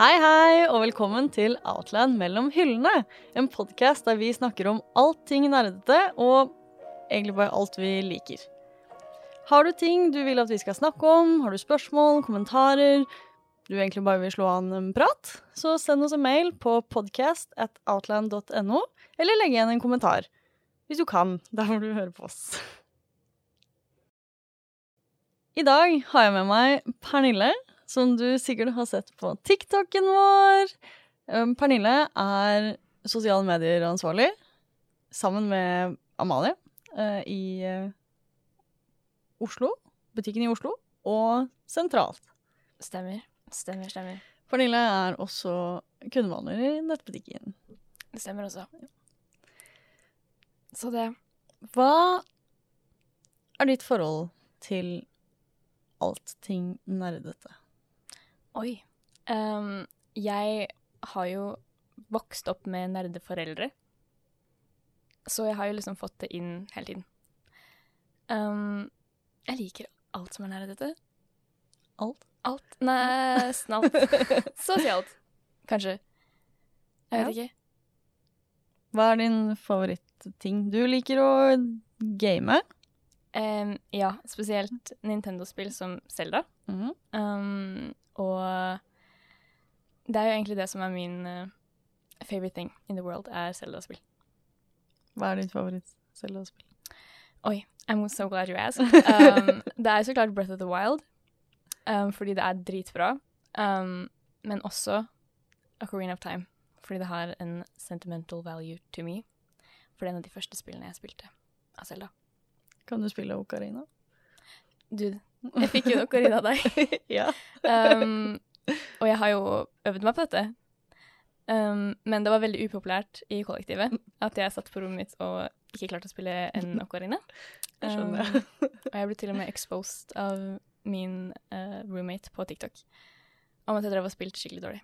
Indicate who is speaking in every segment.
Speaker 1: Hei, hei, og velkommen til Outland mellom hyllene. En podkast der vi snakker om allting nerdete, og egentlig bare alt vi liker. Har du ting du vil at vi skal snakke om, har du spørsmål, kommentarer, du egentlig bare vil slå an en prat, så send oss en mail på podcast at outland.no, eller legg igjen en kommentar. Hvis du kan, der hvor du hører på oss. I dag har jeg med meg Pernille, som du sikkert har sett på TikToken vår. Um, Pernille er sosiale medier-ansvarlig sammen med Amalie eh, i eh, Oslo, butikken i Oslo, og sentralt.
Speaker 2: Stemmer. Stemmer, stemmer.
Speaker 1: Pernille er også kundebehandler i nettbutikken.
Speaker 2: Det stemmer også. Så det Hva
Speaker 1: Er ditt forhold til allting nerdete?
Speaker 2: Oi. Ehm, jeg har jo vokst opp med nerdeforeldre. Så jeg har jo liksom fått det inn hele tiden. Ehm, jeg liker alt som er nerdete.
Speaker 1: Alt?
Speaker 2: Alt. Nesten alt. Sosialt. Kanskje. Jeg vet ikke.
Speaker 1: Hva er din favoritting? Du liker å game.
Speaker 2: Ehm, ja, spesielt Nintendo-spill som Selda.
Speaker 1: Mhm.
Speaker 2: Um, og det er jo egentlig det som er min eh, favorite thing in the world, er Zelda-spill.
Speaker 1: Hva er ditt favoritt-cellespill?
Speaker 2: I'm so glad you asked. Um, det er så klart Breath of the Wild, um, fordi det er dritbra. Um, men også Ocarina of Time, fordi det har en sentimental value to me. For det er en av de første spillene jeg spilte av Zelda.
Speaker 1: Kan du spille okarina?
Speaker 2: Dude, jeg fikk jo en Ocarina av deg.
Speaker 1: ja.
Speaker 2: Um, og jeg har jo øvd meg på dette. Um, men det var veldig upopulært i kollektivet at jeg satt på rommet mitt og ikke klarte å spille en ocarina.
Speaker 1: Det skjønner
Speaker 2: Um, og jeg ble til og med exposed av min eh, roommate på TikTok om at jeg drev og spilte skikkelig dårlig.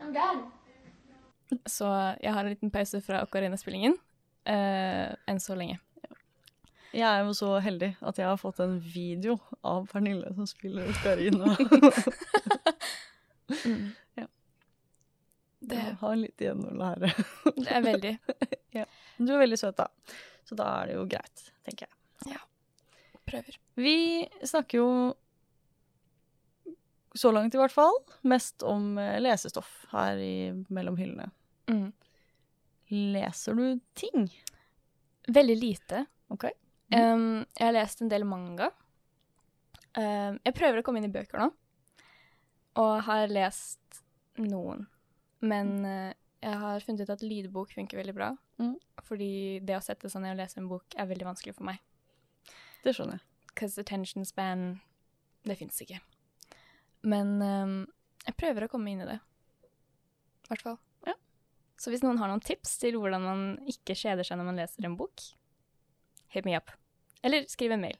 Speaker 3: I'm done.
Speaker 2: Så jeg har en liten pause fra ocarina-spillingen eh, enn så lenge.
Speaker 1: Jeg er jo så heldig at jeg har fått en video av Pernille som spiller okarina.
Speaker 2: Mm. Det,
Speaker 1: Jeg har litt igjen å lære.
Speaker 2: det er veldig
Speaker 1: Men Du er veldig søt, da. Så da er det jo greit, tenker jeg.
Speaker 2: prøver.
Speaker 1: Vi snakker jo, så langt i hvert fall, mest om eh, lesestoff her i mellom hyllene.
Speaker 2: Mm.
Speaker 1: Leser du ting?
Speaker 2: Veldig lite.
Speaker 1: Ok.
Speaker 2: Um, jeg har lest en del manga. Um, jeg prøver å komme inn i bøker nå, og har lest noen. Men eh, jeg har funnet ut at lydbok funker veldig bra,
Speaker 1: Mm.
Speaker 2: fordi det å sette seg ned og lese en bok er veldig vanskelig for meg.
Speaker 1: Det skjønner jeg.
Speaker 2: Because attention span, det fins ikke. Men ehm, jeg prøver å komme inn i det. I hvert fall.
Speaker 1: Ja.
Speaker 2: Så hvis noen har noen tips til hvordan man ikke kjeder seg når man leser en bok, hit me up. Eller skriv en mail.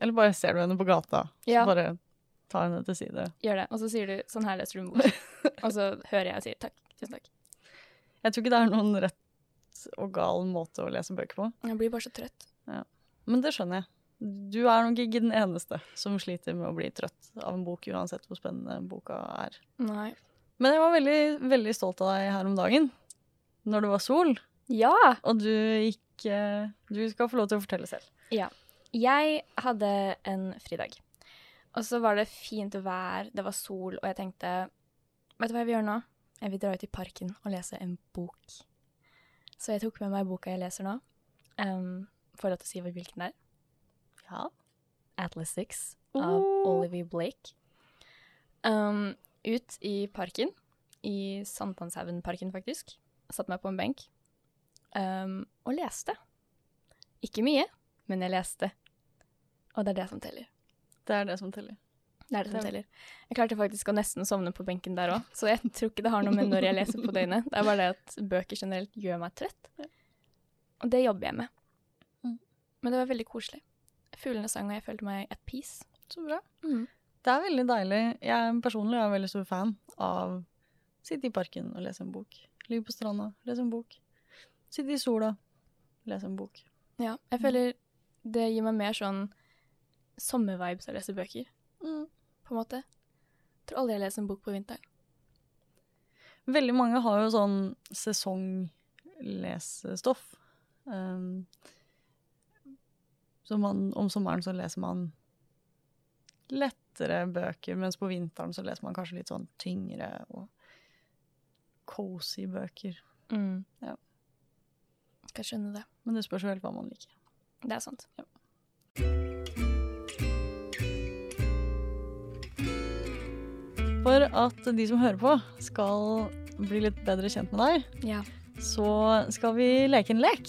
Speaker 1: Eller bare ser du henne på gata,
Speaker 2: Ja.
Speaker 1: så bare ta henne til side.
Speaker 2: Gjør det. Og så sier du 'sånn her leser du en bok'. og så hører jeg og sier 'takk, tusen takk'.
Speaker 1: Jeg tror ikke det er noen rett og gal måte å lese bøker på.
Speaker 2: Jeg blir bare så trøtt.
Speaker 1: Men det skjønner jeg. Du er nok ikke den eneste som sliter med å bli trøtt av en bok, uansett hvor spennende boka er.
Speaker 2: Nei.
Speaker 1: Men jeg var veldig, veldig stolt av deg her om dagen, når det var sol,
Speaker 2: Ja!
Speaker 1: og du gikk eh, Du skal få lov til å fortelle selv.
Speaker 2: Jeg hadde en fridag. Og så var det fint vær, det var sol, og jeg tenkte Vet du hva jeg vil gjøre nå? Jeg vil dra ut i parken og lese en bok. Så jeg tok med meg boka jeg leser nå. Um, Får jeg lov til å si hvilken det er?
Speaker 1: Ja.
Speaker 2: Atlas Six av
Speaker 1: Oh.
Speaker 2: Olivia Blake. Um, ut i parken, i Sankthanshaugen-parken faktisk. Satt meg på en benk um, og leste. Ikke mye, men jeg leste. Og det er det som teller.
Speaker 1: Det er det som teller.
Speaker 2: Det er det som
Speaker 1: Det-
Speaker 2: teller. Jeg klarte faktisk å nesten sovne på benken der òg, så jeg tror ikke det har noe med når jeg leser på døgnet. Det er bare det at bøker generelt gjør meg trøtt. Og det jobber jeg med.
Speaker 1: Mm.
Speaker 2: Men det var veldig koselig. Fuglene sang, og jeg følte meg at peace.
Speaker 1: Så bra.
Speaker 2: Mm.
Speaker 1: Det Det er veldig deilig. Jeg er personlig er jeg veldig stor fan av sitte i parken og lese en bok. Ligge på stranda, lese en bok. Sitte i sola, lese en bok.
Speaker 2: Ja, jeg føler det gir meg mer sånn sommervibes av å lese bøker,
Speaker 1: Mm.
Speaker 2: på en måte. Jeg tror aldri jeg leser en bok på vinteren.
Speaker 1: Veldig mange har jo sånn sesonglesestoff. Um, så man, om sommeren så leser man lettere bøker, mens på vinteren så leser man kanskje litt sånn tyngre og cozy bøker. Ja.
Speaker 2: Kan skjønne det.
Speaker 1: Men det spørs jo helt hva man liker.
Speaker 2: Det er sant.
Speaker 1: For at de som hører på, skal bli litt bedre kjent med deg,
Speaker 2: Ja.
Speaker 1: så skal vi leke en lek,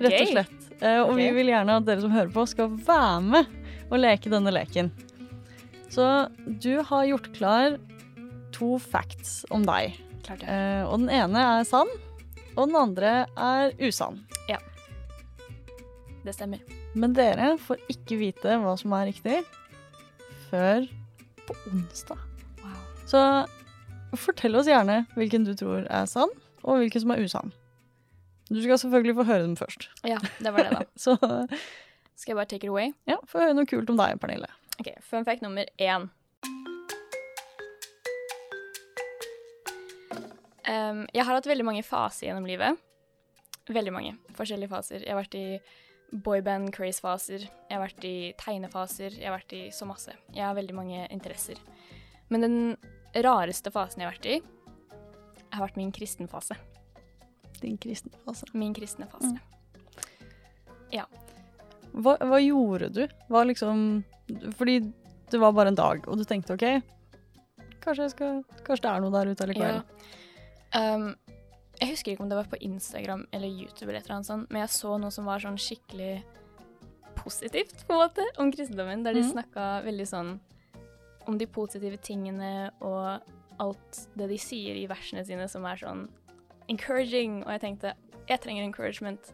Speaker 1: rett og
Speaker 2: Gøy.
Speaker 1: slett. Eh, og
Speaker 2: Ok.
Speaker 1: vi vil gjerne at dere som hører på, skal være med og leke denne leken. Så du har gjort klar to facts om deg.
Speaker 2: Klart det.
Speaker 1: Eh, og den ene er sann, og den andre er usann.
Speaker 2: Det stemmer.
Speaker 1: Men dere får ikke vite hva som er riktig før på onsdag.
Speaker 2: Wow.
Speaker 1: Så fortell oss gjerne hvilken du tror er sann, og hvilken som er usann. Du skal selvfølgelig få høre dem først.
Speaker 2: Ja, det var det, da.
Speaker 1: Så
Speaker 2: Skal jeg bare take it away?
Speaker 1: ja, få høre noe kult om deg, Pernille.
Speaker 2: Ok, Fun fact nummer én. Em, jeg har hatt veldig mange faser gjennom livet. Veldig mange forskjellige faser. Jeg har vært i boyband-craze-faser, jeg har vært i tegnefaser, jeg har vært i så masse. Jeg har veldig mange interesser. Men den rareste fasen jeg har vært i, har vært min kristenfase.
Speaker 1: Din kristne fase.
Speaker 2: Min kristne fase.
Speaker 1: Hva, hva gjorde du? Hva liksom Fordi det var bare en dag, og du tenkte OK, kanskje, jeg skal, kanskje det er noe der ute allikevel.
Speaker 2: Ja. Um, jeg husker ikke om det var på Instagram eller YouTube, eller et eller annet sånt, men jeg så noe som var sånn skikkelig positivt på en måte, om kristendommen, der de
Speaker 1: Mhm.
Speaker 2: snakka veldig sånn om de positive tingene og alt det de sier i versene sine som er sånn encouraging, og jeg tenkte jeg trenger encouragement.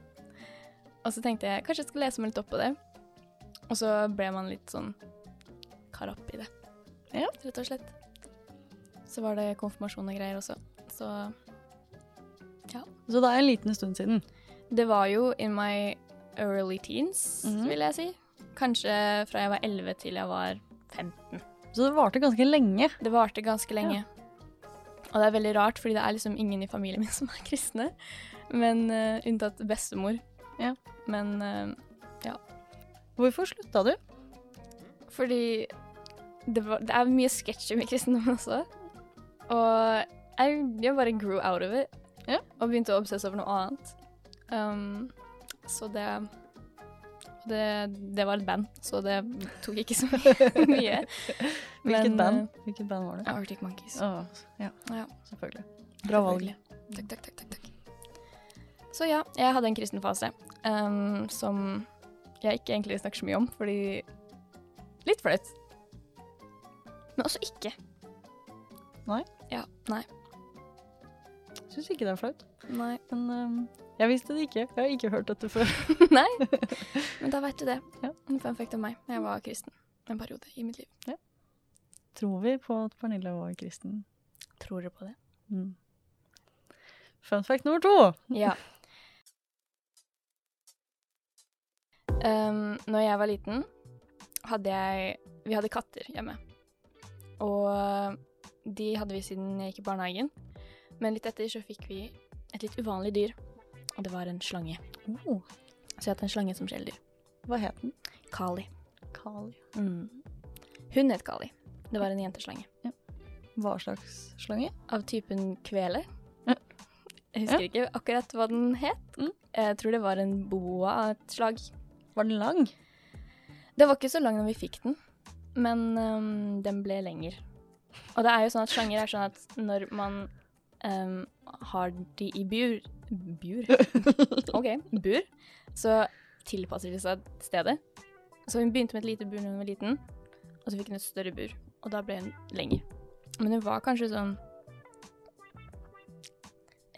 Speaker 2: Og så tenkte jeg kanskje jeg skal lese meg litt opp på det, og så ble man litt sånn kar opp i det,
Speaker 1: Ja.
Speaker 2: rett og slett. Så var det konfirmasjon og greier også. Så
Speaker 1: Så det er en liten stund siden.
Speaker 2: det var jo in my early teens,
Speaker 1: Mhm.
Speaker 2: vil jeg si. Kanskje fra jeg var 11 til jeg var 15.
Speaker 1: Så det varte ganske lenge.
Speaker 2: Det varte ganske lenge. Og det er veldig rart, fordi det er liksom ingen i familien min som er kristne. Men eh, unntatt bestemor.
Speaker 1: Ja.
Speaker 2: Men eh,
Speaker 1: Hvorfor slutta du?
Speaker 2: Fordi det, var, det er mye sketsjer med kristendommen også. Og jeg, jeg bare grew out of it.
Speaker 1: Ja.
Speaker 2: Og begynte å obsesse over noe annet. Um, så det, det Det var et band, så det tok ikke så mye.
Speaker 1: Hvilket
Speaker 2: Men,
Speaker 1: band? Hvilket band var
Speaker 2: eh,
Speaker 1: det?
Speaker 2: Arctic Monkeys.
Speaker 1: Å, ja.
Speaker 2: Ja.
Speaker 1: Selvfølgelig. Bra valg.
Speaker 2: Takk, takk, takk, takk, takk. Så ja, jeg hadde en kristen fase ehm, som jeg ikke egentlig snakker så mye om, fordi litt flaut. Men også ikke.
Speaker 1: Nei?
Speaker 2: Ja, nei.
Speaker 1: Syns ikke det er flaut.
Speaker 2: Nei.
Speaker 1: Men øhm, jeg visste det ikke. Jeg har ikke hørt dette før.
Speaker 2: nei. Men da vet du det.
Speaker 1: Ja.
Speaker 2: En fun fact om meg. Jeg var kristen en periode i mitt liv.
Speaker 1: Tror vi på at Pernille var kristen?
Speaker 2: Tror du på det?
Speaker 1: Mm. Fun fact nummer to.
Speaker 2: Ja. Um, når jeg var liten, hadde jeg Vi hadde katter hjemme. Og de hadde vi siden jeg gikk i barnehagen. Men litt etter så fikk vi et litt uvanlig dyr, og det var en slange.
Speaker 1: Oh,
Speaker 2: Så jeg hadde en slange som kjæledyr.
Speaker 1: hva het den?
Speaker 2: Kali. Mm.
Speaker 1: Kali.
Speaker 2: Hun het Kali. Det var en jenteslange.
Speaker 1: Hva slags slange?
Speaker 2: Av typen kvele.
Speaker 1: Ja.
Speaker 2: Jeg husker ikke akkurat hva den het.
Speaker 1: Mm.
Speaker 2: Jeg tror det var en boa av et slag.
Speaker 1: Var den lang?
Speaker 2: Det var ikke så lang når vi fikk den, men øhm, den ble lenger. Og det er jo sånn at slanger er sånn at når man øhm, har de i bur Bur? OK, bur. Så tilpasser de seg stedet. Så hun begynte med et lite bur da hun var liten, og så fikk hun et større bur. Og da ble hun lenger. Men hun var kanskje sånn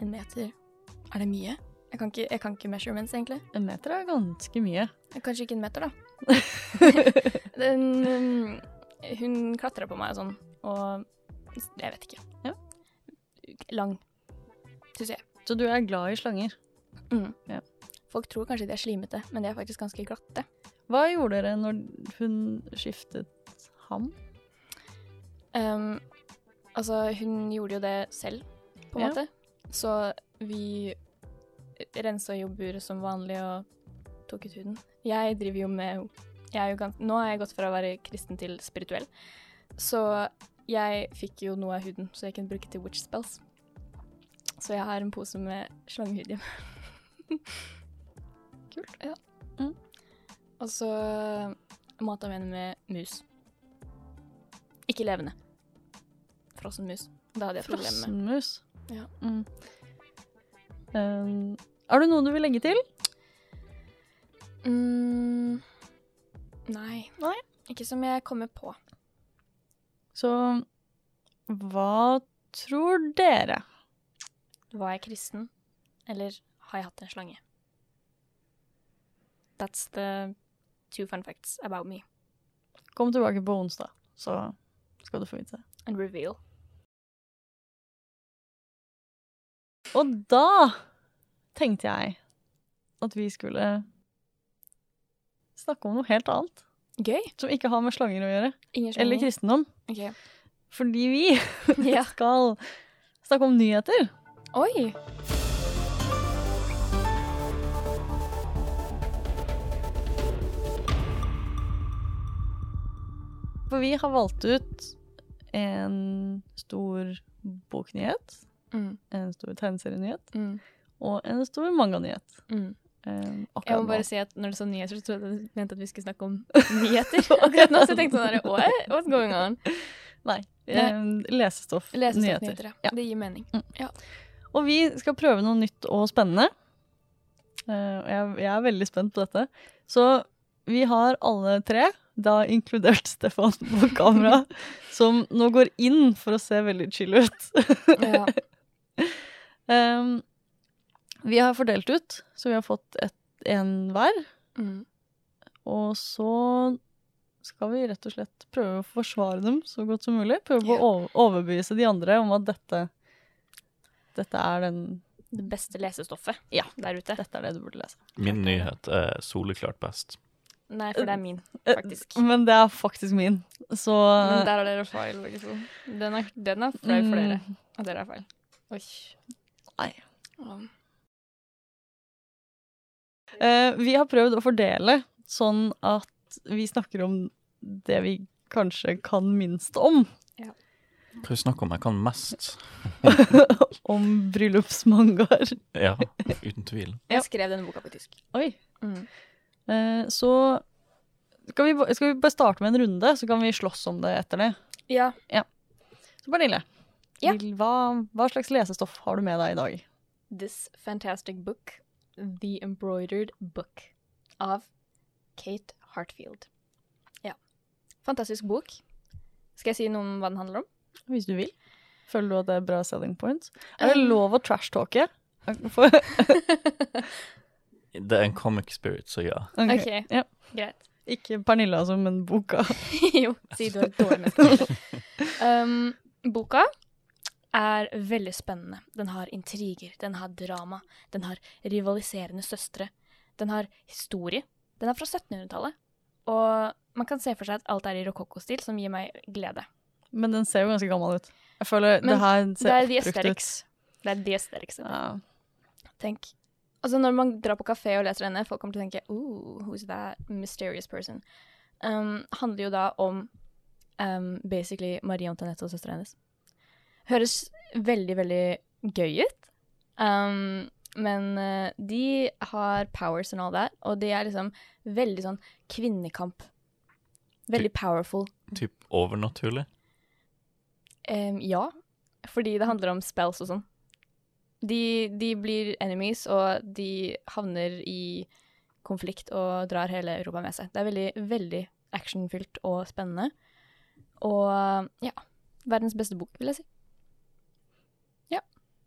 Speaker 2: En meter. Er det mye? Jeg kan ikke, jeg kan ikke measurements, egentlig.
Speaker 1: En meter er ganske mye.
Speaker 2: Kanskje ikke en meter, da. den um, hun klatra på meg og sånn, og jeg vet ikke.
Speaker 1: Ja.
Speaker 2: Lang, syns jeg.
Speaker 1: Så du er glad i slanger.
Speaker 2: Mm.
Speaker 1: Ja.
Speaker 2: Folk tror kanskje de er slimete, men de er faktisk ganske glatte.
Speaker 1: Hva gjorde dere når hun skiftet ham?
Speaker 2: Um, altså, hun gjorde jo det selv, på en
Speaker 1: Ja.
Speaker 2: måte. Så vi rensa jo buret som vanlig og tok ut huden. Jeg driver jo med jeg er jo gans Nå har jeg gått fra å være kristen til spirituell. Så jeg fikk jo noe av huden, så jeg kunne bruke til witch spells. Så jeg har en pose med slangehud hjemme. Kult. Ja.
Speaker 1: Mm.
Speaker 2: Og så mata vi henne med mus. Ikke levende. Frossen mus. Det hadde jeg et problem med.
Speaker 1: Frossenmus.
Speaker 2: Ja.
Speaker 1: Mm. Eh, er det noe du vil legge til?
Speaker 2: Mm. Nei.
Speaker 1: Nei.
Speaker 2: Ikke som jeg kommer på.
Speaker 1: Så hva tror dere?
Speaker 2: Var jeg kristen, eller har jeg hatt en slange? That's the two fun facts about me.
Speaker 1: Kom tilbake på onsdag, så skal du få vite det.
Speaker 2: And reveal.
Speaker 1: Og da tenkte jeg at vi skulle snakke om noe helt annet.
Speaker 2: Gøy.
Speaker 1: Som ikke har med slanger å gjøre.
Speaker 2: Ingen slange.
Speaker 1: Eller kristendom.
Speaker 2: Ok.
Speaker 1: Fordi vi
Speaker 2: Ja.
Speaker 1: skal snakke om nyheter.
Speaker 2: Oi!
Speaker 1: For vi har valgt ut en stor boknyhet,
Speaker 2: Mm,
Speaker 1: en stor tegneserienyhet
Speaker 2: mm,
Speaker 1: og en stor manganyhet.
Speaker 2: mm.
Speaker 1: Um,
Speaker 2: Jeg må
Speaker 1: akkurat
Speaker 2: bare
Speaker 1: nå.
Speaker 2: si at når du sa nyheter, så trodde jeg du mente at vi skulle snakke om nyheter. Akkurat nå så jeg tenkte jeg sånn her, what? What's going on?
Speaker 1: Nei.
Speaker 2: Nei.
Speaker 1: Um, lesestoff. nyheter.
Speaker 2: Lesestoffnyheter,
Speaker 1: Ja.
Speaker 2: ja. Det gir mening.
Speaker 1: Og vi skal prøve noe nytt og spennende. Eh, og jeg, jeg er veldig spent på dette. Så vi har alle tre, da inkludert Stefan på kamera, som nå går inn for å se veldig chill ut.
Speaker 2: Ja.
Speaker 1: Em, vi har fordelt ut, så vi har fått et, en hver.
Speaker 2: Mm.
Speaker 1: Og så skal vi rett og slett prøve å forsvare dem så godt som mulig. Prøve å over- overbevise de andre om at dette, dette, er den,
Speaker 2: Det beste lesestoffet
Speaker 1: Ja.
Speaker 2: der ute.
Speaker 1: dette er det du burde lese.
Speaker 3: Min nyhet er soleklart best.
Speaker 2: Nei, for det er min,
Speaker 1: Eh,
Speaker 2: faktisk.
Speaker 1: Men det er faktisk min. Så
Speaker 2: Men der har dere feil, begge to. Den er, den er flau for dere.
Speaker 1: mm,
Speaker 2: At dere har feil. Oi. Um,
Speaker 1: Nei.
Speaker 2: Åh.
Speaker 1: eh, vi har prøvd å fordele sånn at vi snakker om det vi kanskje kan minst om.
Speaker 3: Hva er det snakk om? Jeg kan mest.
Speaker 1: om bryllupsmangaer.
Speaker 3: Ja, uten tvil.
Speaker 1: Ja.
Speaker 2: Jeg skrev denne boka på tysk.
Speaker 1: Oi. Eh, så skal vi, ba- skal vi bare starte med en runde, så kan vi slåss om det etter det.
Speaker 2: Ja.
Speaker 1: Så Pernille,
Speaker 2: Ja.
Speaker 1: vil- hva, hva slags lesestoff har du med deg i dag?
Speaker 2: This fantastic book, The Embroidered Book, av Kate Hartfield. Ja. Fantastisk bok. Skal jeg si noe om hva den handler om?
Speaker 1: Hvis du vil. Føler du at det er bra selling points? Er det lov å trashtalke? For-
Speaker 3: Det er en comic spirit, så ja.
Speaker 1: Ok.
Speaker 2: Ok.
Speaker 1: Ja.
Speaker 2: Greit.
Speaker 1: Ikke Pernille, altså, men boka.
Speaker 2: jo, si du er et dårlig menneske. Um, boka er veldig spennende. Den har intriger, den har drama, den har rivaliserende søstre, den har historie. Den er fra 1700-tallet, og man kan se for seg at alt er i rokokkostil, som gir meg glede.
Speaker 1: Men den ser jo ganske gammel ut. Jeg føler
Speaker 2: Men
Speaker 1: det her
Speaker 2: Det
Speaker 1: ser
Speaker 2: er the
Speaker 1: oppbrukt ut.
Speaker 2: aesthetics. Det er the aesthetics.
Speaker 1: Ja.
Speaker 2: Tenk. Altså Når man drar på kafé og leser denne, folk kommer til å tenke Ooh, who's that mysterious person? Um, handler jo da om um, basically Marie Antoinette og søstera hennes. Høres veldig, veldig gøy ut. Um, men eh, de har powers and all that, og de er liksom veldig sånn kvinnekamp. Veldig powerful.
Speaker 3: Typ overnaturlig.
Speaker 2: Em, ja, fordi det handler om spells og sånn. De, de blir enemies, og de havner i konflikt og drar hele Europa med seg. Det er veldig, veldig actionfylt og spennende. Og ja, verdens beste bok, vil jeg si. Ja,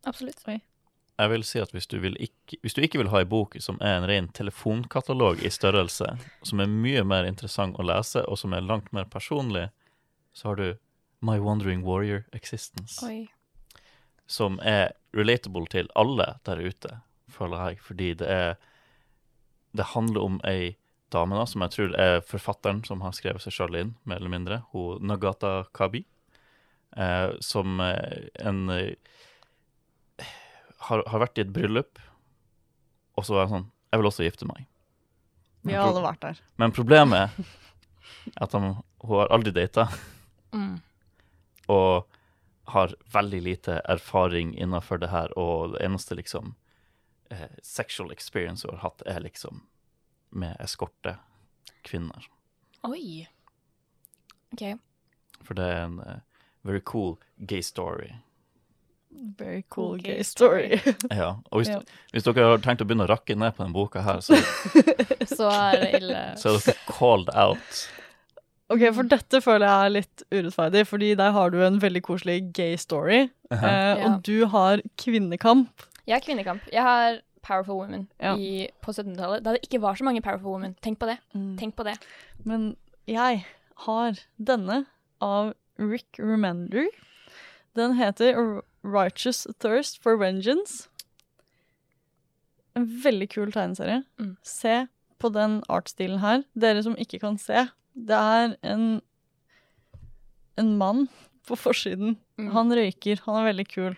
Speaker 2: absolutt.
Speaker 3: Jeg vil si at hvis du, vil ikke, hvis du ikke vil ha ei bok som er en ren telefonkatalog i størrelse, som er mye mer interessant å lese, og som er langt mer personlig, så har du My Wandering Warrior Existence,
Speaker 2: Oi.
Speaker 3: som er relatable til alle der ute, føler jeg, fordi det er Det handler om ei dame da, som jeg tror er forfatteren som har skrevet seg sjøl inn, mer eller mindre, hun Nagata Kabi, eh, som eh, en eh, har, har vært i et bryllup, og så er hun sånn Jeg vil også gifte meg.
Speaker 1: Vi har alle vært der.
Speaker 3: Men problemet er at han, hun har aldri data
Speaker 2: Mm.
Speaker 3: og har veldig lite erfaring innenfor det her, og det eneste liksom eh, sexual experience hun har hatt, er liksom med eskorte kvinner.
Speaker 2: Oi. OK.
Speaker 3: For det er en eh, very cool gay story.
Speaker 1: Very cool
Speaker 2: gay
Speaker 1: gay story.
Speaker 3: Ja, og hvis,
Speaker 1: Ja.
Speaker 3: hvis dere har tenkt å begynne å rakke ned på denne boka her, så,
Speaker 2: Så er det ille.
Speaker 3: så er dere called out.
Speaker 1: Ok, for dette føler jeg er litt urettferdig, fordi der har du en veldig koselig gay story, eh,
Speaker 2: Ja.
Speaker 1: og du har kvinnekamp.
Speaker 2: Jeg har kvinnekamp. Jeg har Powerful Women
Speaker 1: Ja.
Speaker 2: i, på 1700-tallet. Da det ikke var så mange Powerful Women. Tenk på det. Tenk på det.
Speaker 1: Men jeg har denne av Rick Remender. Den heter R- Righteous Thirst for Vengeance. En veldig kul tegneserie.
Speaker 2: Mm.
Speaker 1: Se på den artstilen her. Dere som ikke kan se. Det er en, en mann på forsiden.
Speaker 2: Mm.
Speaker 1: Han røyker. Han er veldig kul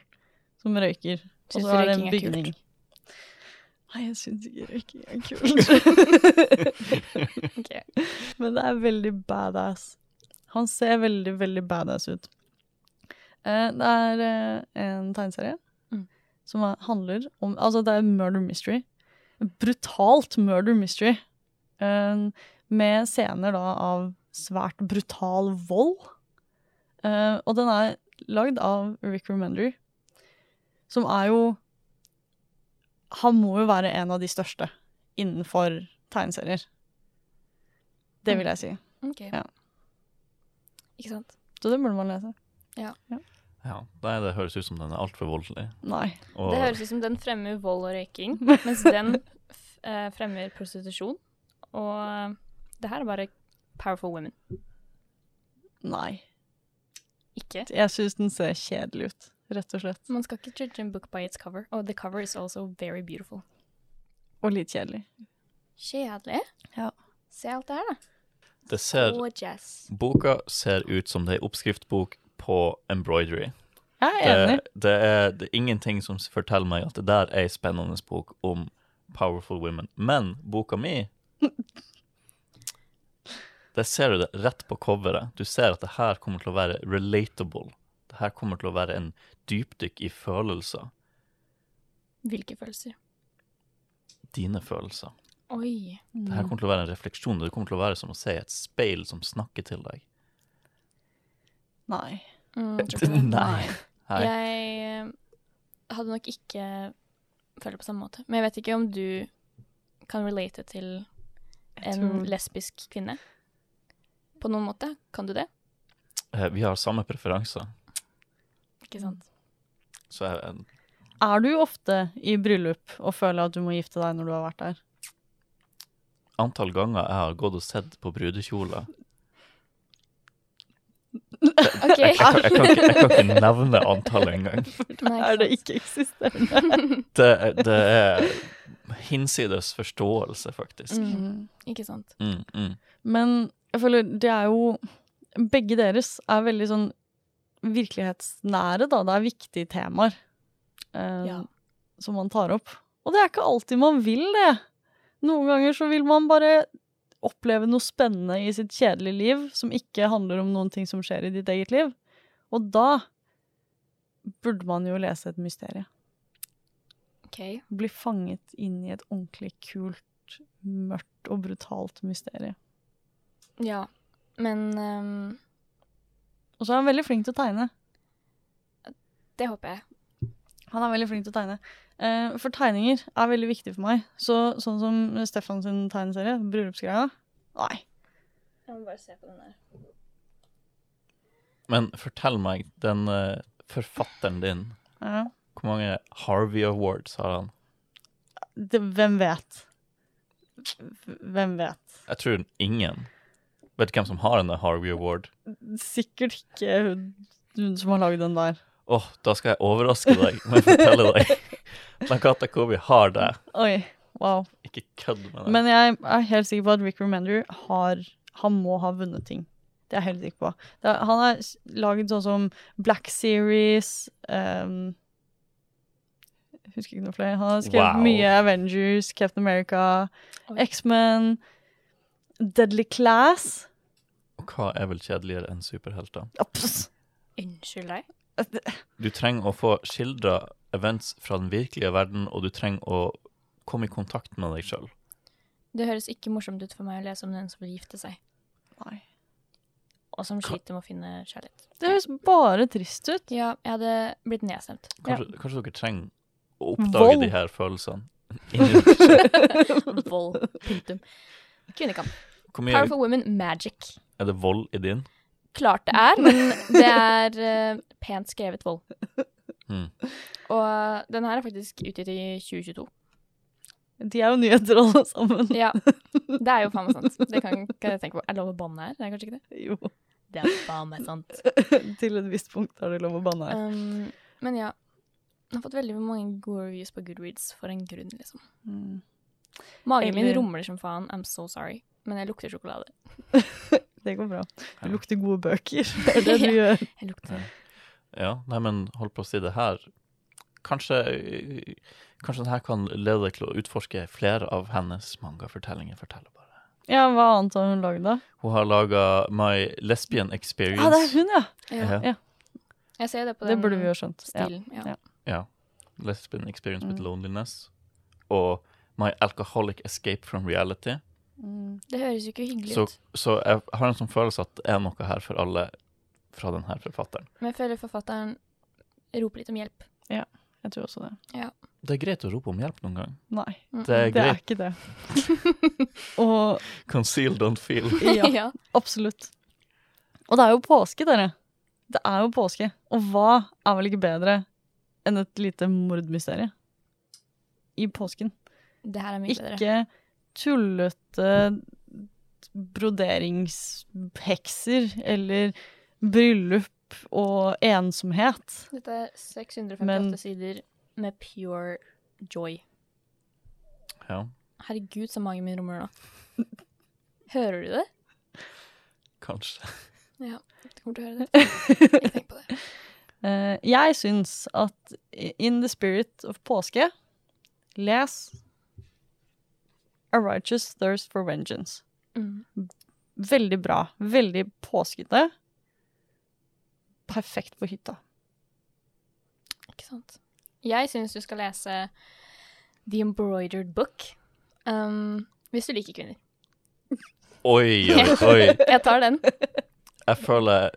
Speaker 1: som røyker. Og
Speaker 2: Synes
Speaker 1: så er det en
Speaker 2: røyking er kult?
Speaker 1: bygning. Nei, jeg syns ikke røyking er kult.
Speaker 2: Ok.
Speaker 1: Men det er veldig badass. Han ser veldig, veldig badass ut. Eh, det er eh, en tegneserie
Speaker 2: Mm.
Speaker 1: som er, handler om Altså, det er murder mystery. Brutalt murder mystery. Eh, med scener da av svært brutal vold. Eh, og den er lagd av Rick Remender, som er jo Han må jo være en av de største innenfor tegneserier. Det vil jeg si.
Speaker 2: Ok.
Speaker 1: Ja.
Speaker 2: Ikke sant?
Speaker 1: Så det burde man lese.
Speaker 3: Ja, nei, det høres ut som den er altfor voldelig.
Speaker 1: Nei.
Speaker 3: Og,
Speaker 2: Det høres ut som den fremmer vold og røyking, mens den f eh, fremmer prostitusjon. Og eh, det her er bare Powerful Women.
Speaker 1: Nei.
Speaker 2: Ikke.
Speaker 1: Jeg syns den ser kjedelig ut, rett og slett.
Speaker 2: Man skal ikke judge a book by its cover. Og the cover is also very beautiful.
Speaker 1: Og litt kjedelig.
Speaker 2: Kjedelig.
Speaker 1: Ja.
Speaker 2: Se alt det her, da.
Speaker 3: det ser,
Speaker 2: Gorgeous.
Speaker 3: boka ser ut som det er en oppskriftbok på embroidery.
Speaker 1: Jeg er enig.
Speaker 3: det, det, er, det er ingenting som s- forteller meg at det der er ei spennende bok om powerful women. Men boka mi Der ser du det rett på coveret. Du ser at det her kommer til å være relatable. Det her kommer til å være en dypdykk i følelser.
Speaker 2: Hvilke følelser?
Speaker 3: Dine følelser.
Speaker 2: Oi.
Speaker 3: Det
Speaker 1: Mm.
Speaker 3: her kommer til å være en refleksjon. Det kommer til å være som å se et speil som snakker til deg.
Speaker 1: Nei.
Speaker 2: Mm, jeg tror ikke det.
Speaker 3: Nei. Hei.
Speaker 2: Jeg eh, hadde nok ikke følt det på samme måte. Men jeg vet ikke om du kan relate til
Speaker 1: Jeg
Speaker 2: en
Speaker 1: tror-
Speaker 2: lesbisk kvinne. På noen måte. Kan du det?
Speaker 3: Eh, Vi har samme preferanser,
Speaker 2: Ikke sant?
Speaker 3: så jeg,
Speaker 1: Er du ofte i bryllup og føler at du må gifte deg når du har vært der?
Speaker 3: antall ganger jeg har gått og sett på brudekjoler
Speaker 2: OK.
Speaker 3: Jeg, kan- jeg, kan, ikke- jeg kan ikke nevne antallet engang.
Speaker 2: Nei,
Speaker 1: Er det
Speaker 2: sant.
Speaker 1: ikke eksisterende?
Speaker 3: Det, det er hinsides forståelse, faktisk.
Speaker 2: Mm, ikke sant.
Speaker 3: Mm, mm.
Speaker 1: Men jeg føler det er jo Begge deres er veldig sånn virkelighetsnære, da. Det er viktige temaer eh,
Speaker 2: Ja.
Speaker 1: som man tar opp. Og det er ikke alltid man vil det. Noen ganger så vil man bare oppleve noe spennende i sitt kjedelige liv som ikke handler om noen ting som skjer i ditt eget liv. Og da burde man jo lese et mysterium.
Speaker 2: OK.
Speaker 1: Bli fanget inn i et ordentlig kult, mørkt og brutalt mysterium.
Speaker 2: Ja. Men ehm,
Speaker 1: Og så er han veldig flink til å tegne.
Speaker 2: det håper jeg.
Speaker 1: Han er veldig flink til å tegne. Eh, for tegninger er veldig viktig for meg. Så, sånn som Stefan sin tegneserie, bryllupsgreia Nei.
Speaker 2: Jeg må bare se på den der.
Speaker 3: Men fortell meg, den eh, forfatteren din,
Speaker 1: Ja.
Speaker 3: hvor mange Harvey Awards har han?
Speaker 1: Det, hvem vet? Hvem vet?
Speaker 3: Jeg tror ingen. Vet du hvem som har denne Harvey Award?
Speaker 1: Sikkert ikke hun, hun som har lagd den der.
Speaker 3: Åh, da skal jeg overraske deg med å fortelle deg. Nakata Kobi har det.
Speaker 1: Oi, wow.
Speaker 3: Ikke kødd med det.
Speaker 1: Men jeg er helt sikker på at Rick Remender har Han må ha vunnet ting. Det er jeg helt sikker på. Det er, han har s- laget sånn som Black Series ehm, jeg Husker ikke noe flere. Han har skrevet
Speaker 3: Wow.
Speaker 1: mye Avengers, Captain America, X-Men, Deadly Class
Speaker 3: Og hva er vel kjedeligere enn superhelter?
Speaker 1: ja, pss.
Speaker 2: Unnskyld deg?
Speaker 3: Du trenger å få skildra events fra den virkelige verden, og du trenger å komme i kontakt med deg sjøl.
Speaker 2: Det høres ikke morsomt ut for meg å lese om den som vil gifte seg,
Speaker 1: Nei.
Speaker 2: og som sliter med å finne kjærlighet.
Speaker 1: Det høres bare trist ut.
Speaker 2: Ja, jeg hadde blitt nedstemt. Ja.
Speaker 3: Kanskje, kanskje dere trenger å oppdage
Speaker 1: Vold.
Speaker 3: de her følelsene. Inni-
Speaker 2: Vold. Punktum. Kvinnekamp.
Speaker 3: Hvor mye
Speaker 2: Powerful Women Magic.
Speaker 3: er det vold i din?
Speaker 2: Klart det er, men det er eh, pent skrevet vold.
Speaker 3: Mm.
Speaker 2: Og den her er faktisk utgitt i 2022.
Speaker 1: De er jo nyheter, alle sammen.
Speaker 2: Ja, det er jo faen meg sant. Det kan, kan jeg tenke på. Er det lov å banne her? Det er kanskje ikke det?
Speaker 1: Jo,
Speaker 2: Det er faen meg sant.
Speaker 1: til et visst punkt er det lov å banne her.
Speaker 2: Um, men ja. Den har fått veldig mange gode reviews på Goodreads for en grunn, liksom.
Speaker 1: Mm.
Speaker 2: Magen min
Speaker 1: Eller-
Speaker 2: rumler som faen. I'm so sorry. Men jeg lukter sjokolade.
Speaker 1: Det går bra. Du
Speaker 3: Ja.
Speaker 1: lukter gode bøker. Det er det du gjør.
Speaker 2: Jeg lukter
Speaker 3: Ja, nei, men holdt på å si det her. Kanskje, kanskje det her kan lede deg til å utforske flere av hennes mangafortellinger. Forteller bare.
Speaker 1: Ja, hva annet har hun lagd, da?
Speaker 3: Hun har laga My Lesbian Experience.
Speaker 1: Ah, det er hun, ja!
Speaker 2: ja.
Speaker 1: Ja.
Speaker 2: Jeg ser det på
Speaker 1: Det
Speaker 2: den
Speaker 1: burde vi jo ha skjønt. Ja.
Speaker 2: stilen. Ja.
Speaker 1: Ja.
Speaker 3: Lesbian Experience with
Speaker 1: Mm.
Speaker 3: Loneliness. Og My Alcoholic Escape from Reality.
Speaker 1: Mm.
Speaker 2: Det høres jo ikke hyggelig
Speaker 3: Så,
Speaker 2: ut.
Speaker 3: så jeg har en sånn følelse at det er noe her for alle fra denne forfatteren.
Speaker 2: Men jeg føler forfatteren roper litt om hjelp.
Speaker 1: Jeg tror også det.
Speaker 3: Det er greit å rope om hjelp noen gang.
Speaker 1: Nei,
Speaker 2: Mm.
Speaker 3: Det er
Speaker 1: det er
Speaker 3: greit.
Speaker 1: ikke det. Og
Speaker 3: Conceal, don't feel.
Speaker 1: ja,
Speaker 2: ja.
Speaker 1: absolutt. Og det er jo påske, dere. Det er jo påske. Og hva er vel ikke bedre enn et lite mordmysterie i påsken?
Speaker 2: Det her er mye bedre.
Speaker 1: Ikke tullete broderingshekser eller bryllup og ensomhet.
Speaker 2: Dette er 658
Speaker 1: Men-
Speaker 2: sider med pure joy.
Speaker 3: Ja.
Speaker 2: Herregud, så magen min rumler nå. Hører du det?
Speaker 3: Kanskje.
Speaker 2: Du kommer til å høre det. Ikke tenk på det.
Speaker 1: Eh, jeg syns at in the spirit of påske, les A Righteous Thirst for Vengeance.
Speaker 2: Mm.
Speaker 1: Veldig bra. Veldig påskete. Perfekt på hytta.
Speaker 2: Ikke sant. Jeg syns du skal lese The Embroidered Book. Um, hvis du liker kvinner.
Speaker 3: Oi, oi, oi.
Speaker 2: Jeg tar den.
Speaker 3: Jeg føler,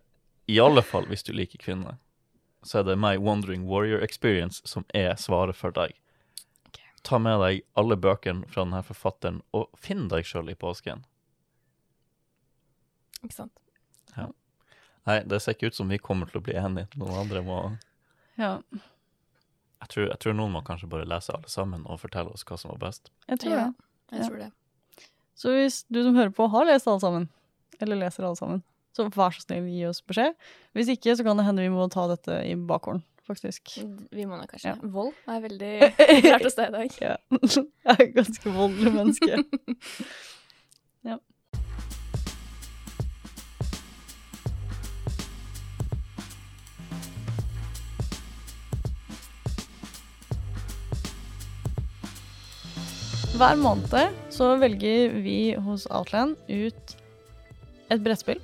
Speaker 3: i alle fall hvis du liker kvinner, så er det My Wandering Warrior Experience som er svaret for deg.
Speaker 2: Ok.
Speaker 3: Ta med deg alle bøkene fra denne forfatteren, og finn deg sjøl i påsken.
Speaker 2: Ikke sant.
Speaker 3: Nei, det ser ikke ut som vi kommer til å bli enige. Noen andre må
Speaker 1: Ja,
Speaker 3: Jeg tror, jeg tror noen må kanskje bare lese alle sammen og fortelle oss hva som var best.
Speaker 1: jeg tror
Speaker 2: Ja,
Speaker 1: det.
Speaker 2: jeg
Speaker 1: Ja.
Speaker 2: tror det.
Speaker 1: Så hvis du som hører på har lest alle sammen, eller leser alle sammen, så vær så snill, gi oss beskjed. Hvis ikke, så kan det hende vi må ta dette i bakgården, faktisk.
Speaker 2: Vi må nok kanskje
Speaker 1: Ja.
Speaker 2: Vold er veldig
Speaker 1: Jeg
Speaker 2: klart hos deg i dag.
Speaker 1: er et ganske voldelig menneske. Hver måned så velger vi hos Outland ut et brettspill,